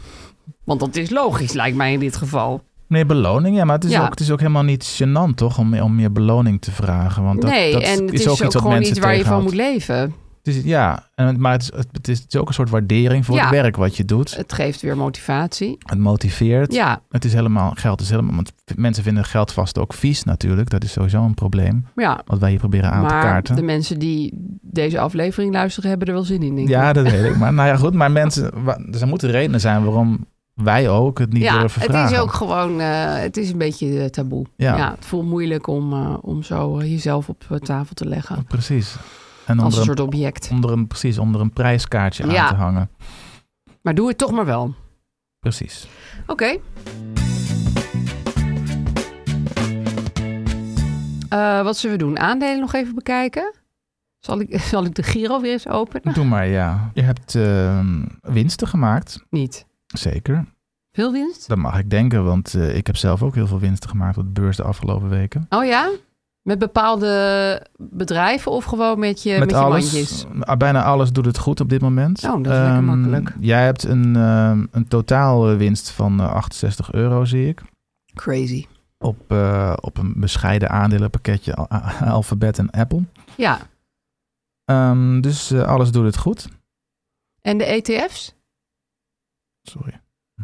D: Want dat is logisch, lijkt mij in dit geval.
E: Meer beloning, ja, maar het is,
D: Ja.
E: Ook, het is ook helemaal niet gênant, toch? Om, om meer beloning te vragen. Want dat,
D: nee,
E: dat
D: en het is, ook,
E: iets wat
D: gewoon
E: mensen
D: niet waar je van
E: tegenhoudt.
D: moet leven.
E: Het is, ja, en, maar het is, het, is, het is ook een soort waardering voor
D: Ja.
E: het werk wat je doet.
D: Het geeft weer motivatie.
E: Het motiveert.
D: Ja.
E: Het is helemaal, geld is helemaal, want mensen vinden geld vast ook vies natuurlijk. Dat is sowieso een probleem.
D: Ja.
E: Wat wij hier proberen aan te
D: maar
E: kaarten.
D: de mensen die deze aflevering luisteren, hebben er wel zin in. Denk ik.
E: Ja, dat weet ik. Maar nou ja, goed. Maar mensen, wa- dus er moeten redenen zijn waarom wij ook het niet
D: ja,
E: durven
D: het
E: vragen.
D: is ook gewoon, eh, het is een beetje eh, taboe.
E: Ja.
D: het voelt moeilijk om, eh, om zo eh, jezelf op eh, tafel te leggen.
E: Precies. En
D: Als
E: onder
D: een soort object.
E: Onder een, precies, onder een prijskaartje
D: Ja.
E: aan te hangen.
D: Maar doe het toch maar wel.
E: Precies.
D: Oké, Eh, wat zullen we doen? Aandelen nog even bekijken? Zal ik, zal ik de Giro weer eens openen?
E: Doe maar, ja. Je hebt ehm, winsten gemaakt.
D: Niet.
E: Zeker.
D: Veel winst?
E: Dat mag ik denken, want eh, ik heb zelf ook heel veel winsten gemaakt op de beurs de afgelopen weken.
D: Oh ja? Met bepaalde bedrijven of gewoon met je, met je mandjes?
E: alles, ah, bijna alles doet het goed op dit moment.
D: Oh, dat is lekker
E: Ehm,
D: makkelijk.
E: Jij hebt een, ehm, een totaal eh, winst van eh, 68 euro, zie ik.
D: Crazy.
E: Op, eh, op een bescheiden aandelenpakketje Al- A- Alphabet en Apple.
D: Ja,
E: Ehm, dus eh, alles doet het goed.
D: en de E ETF's?
E: Sorry. Hm.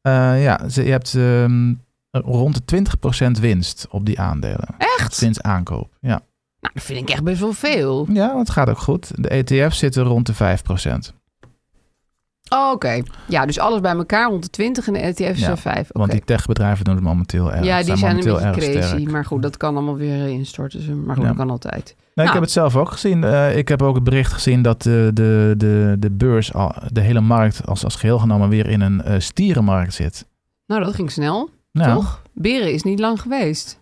E: Eh, ja, ze- je hebt ehm, rond de 20% winst op die aandelen.
D: Echt?
E: Sinds aankoop, ja.
D: Nou, dat vind ik echt best wel veel.
E: Ja, want het gaat ook goed. De ETF zitten rond de 5%.
D: Oh, oké. Ja, dus alles bij elkaar rond de 20 en de ETF's zijn 5.
E: Want die techbedrijven doen het momenteel erg.
D: ja, die zijn een
E: momenteel
D: beetje
E: erg
D: crazy.
E: sterk.
D: Maar goed, dat kan allemaal weer eh, instorten. ze- Maar goed,
E: Ja.
D: dat kan altijd.
E: Nee,
D: Nou.
E: Ik heb het zelf ook gezien. Eh, ik heb ook het bericht gezien dat eh, de, de, de beurs, al- de hele markt als, als geheel genomen, weer in een eh, stierenmarkt zit.
D: Nou, dat ging snel.
E: Ja.
D: Toch? Beren is niet lang geweest.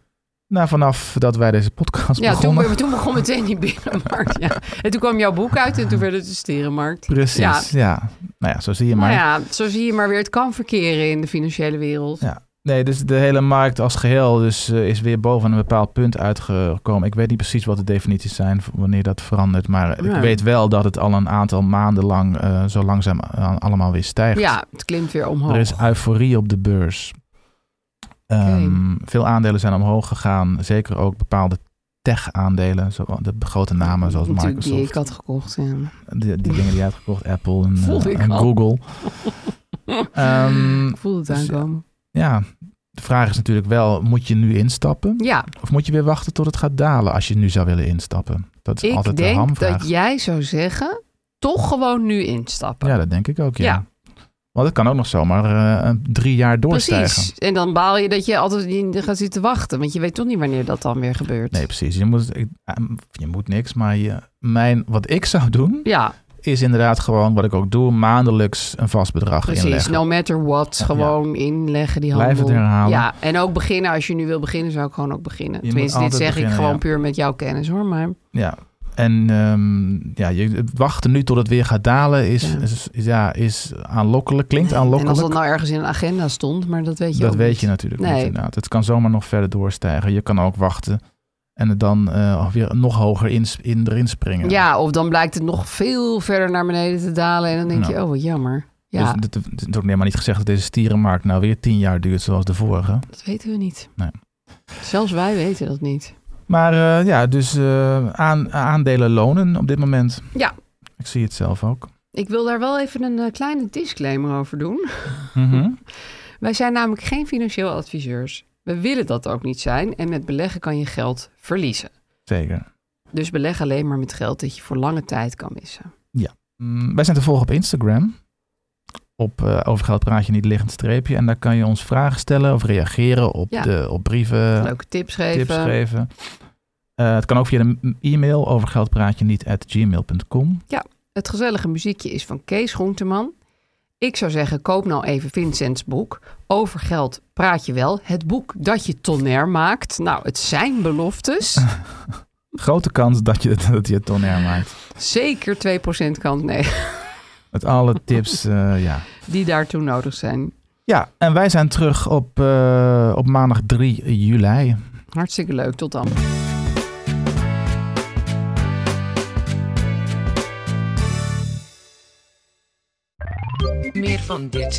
E: Nou, vanaf dat wij deze podcast
D: ja, toen,
E: begonnen.
D: we- toen begon meteen die berenmarkt. Ja. En toen kwam jouw boek uit en toen werd het de sterenmarkt.
E: Precies,
D: Ja.
E: ja. Nou ja, zo zie je maar.
D: Nou ja, zo zie je maar weer. Het kan verkeren in de financiële wereld.
E: Ja. Nee, dus de hele markt als geheel dus, eh, is weer boven een bepaald punt uitgekomen. Ik weet niet precies wat de definities zijn, v- wanneer dat verandert. Maar
D: Nee.
E: ik weet wel dat het al een aantal maanden lang eh, zo langzaam a- allemaal weer stijgt.
D: Ja, het klimt weer omhoog.
E: Er is euforie op de beurs. Ehm, Veel aandelen zijn omhoog gegaan. Zeker ook bepaalde tech-aandelen. zo- De grote namen zoals
D: Natuurlijk die
E: Microsoft.
D: ik had gekocht. Ja.
E: Die, die dingen die je had gekocht. Apple en, eh,
D: Voelde ik
E: en
D: al.
E: Google. Ehm,
D: ik voelde het
E: dus,
D: aankomen.
E: Ja, de vraag is natuurlijk wel, moet je nu instappen?
D: Ja,
E: Of moet je weer wachten tot het gaat dalen als je nu zou willen instappen? Dat is
D: ik
E: altijd de
D: denk
E: hamvraag.
D: dat jij zou zeggen, toch gewoon nu instappen.
E: Ja, dat denk ik ook, ja.
D: Ja.
E: Want het kan ook nog zomaar eh, drie jaar doorstijgen.
D: Precies. En dan baal je dat je altijd niet gaat zitten wachten. Want je weet toch niet wanneer dat dan weer gebeurt.
E: Nee, precies. Je moet, ik- eh, je moet niks, maar je, mijn, wat ik zou doen,
D: Ja,
E: is inderdaad gewoon wat ik ook doe, maandelijks een vast bedrag
D: precies. nou-
E: inleggen.
D: No matter what. Gewoon inleggen die handel.
E: Blijf het herhalen.
D: Ja, en ook beginnen. Als je nu wil beginnen, zou ik gewoon ook beginnen.
E: moet
D: Tenminste, dit
E: altijd
D: zeg ik
E: beginnen,
D: gewoon
E: ja.
D: puur met jouw kennis hoor. Maar
E: Ja. En ehm, ja, je, wachten nu tot het weer gaat dalen is,
D: Ja.
E: ja. Is, is- ja, is aanlokkelijk, klinkt
D: en als
E: aanlokkelijk.
D: dat nou ergens in een agenda stond, maar dat weet je
E: dat
D: ook
E: weet
D: niet.
E: je natuurlijk
D: Nee.
E: niet inderdaad. Het kan zomaar nog verder doorstijgen. Je kan ook wachten en het dan eh, weer nog hoger in, in, erin springen.
D: Ja, of dan blijkt het nog veel verder naar beneden te dalen. En dan denk je,
E: Ja.
D: oh wat jammer. Ja,
E: Nou. Dus het- het is ook helemaal niet gezegd dat deze stierenmarkt nou weer tien jaar duurt zoals de vorige.
D: dat weten we niet.
E: Nee.
D: Zelfs wij weten dat niet.
E: Maar eh, ja, dus eh, aan, aandelen lonen op dit moment.
D: Ja.
E: Ik zie het zelf ook.
D: Ik wil daar wel even een eh, kleine disclaimer over doen.
E: Mhm.
D: Wij zijn namelijk geen financieel adviseurs. We willen dat ook niet zijn. En met beleggen kan je geld verliezen.
E: Zeker.
D: Dus beleg alleen maar met geld dat je voor lange tijd kan missen.
E: Mm, wij zijn te volgen op Instagram. Op eh Over Geld Praat je niet liggend streepje. En daar kan je ons vragen stellen of reageren op,
D: Ja.
E: de, op brieven,
D: Leuke tips geven.
E: tips geven. Eh, het kan ook via de m- e-mail over geldpraatje niet at gmail.com.
D: Het gezellige muziekje is van Kees Groenteman. Ik zou zeggen, koop nou even Vincent's boek. Over geld praat je wel. Het boek dat je tonner maakt. Nou, het zijn beloftes.
E: Grote kans dat je, dat je het tonner maakt.
D: Zeker 2% kans nee,
E: Met alle tips, eh, ja.
D: die daartoe nodig zijn.
E: Ja, en wij zijn terug op, eh, op maandag 3 juli.
D: Hartstikke leuk. Tot dan.
G: Meer van dit.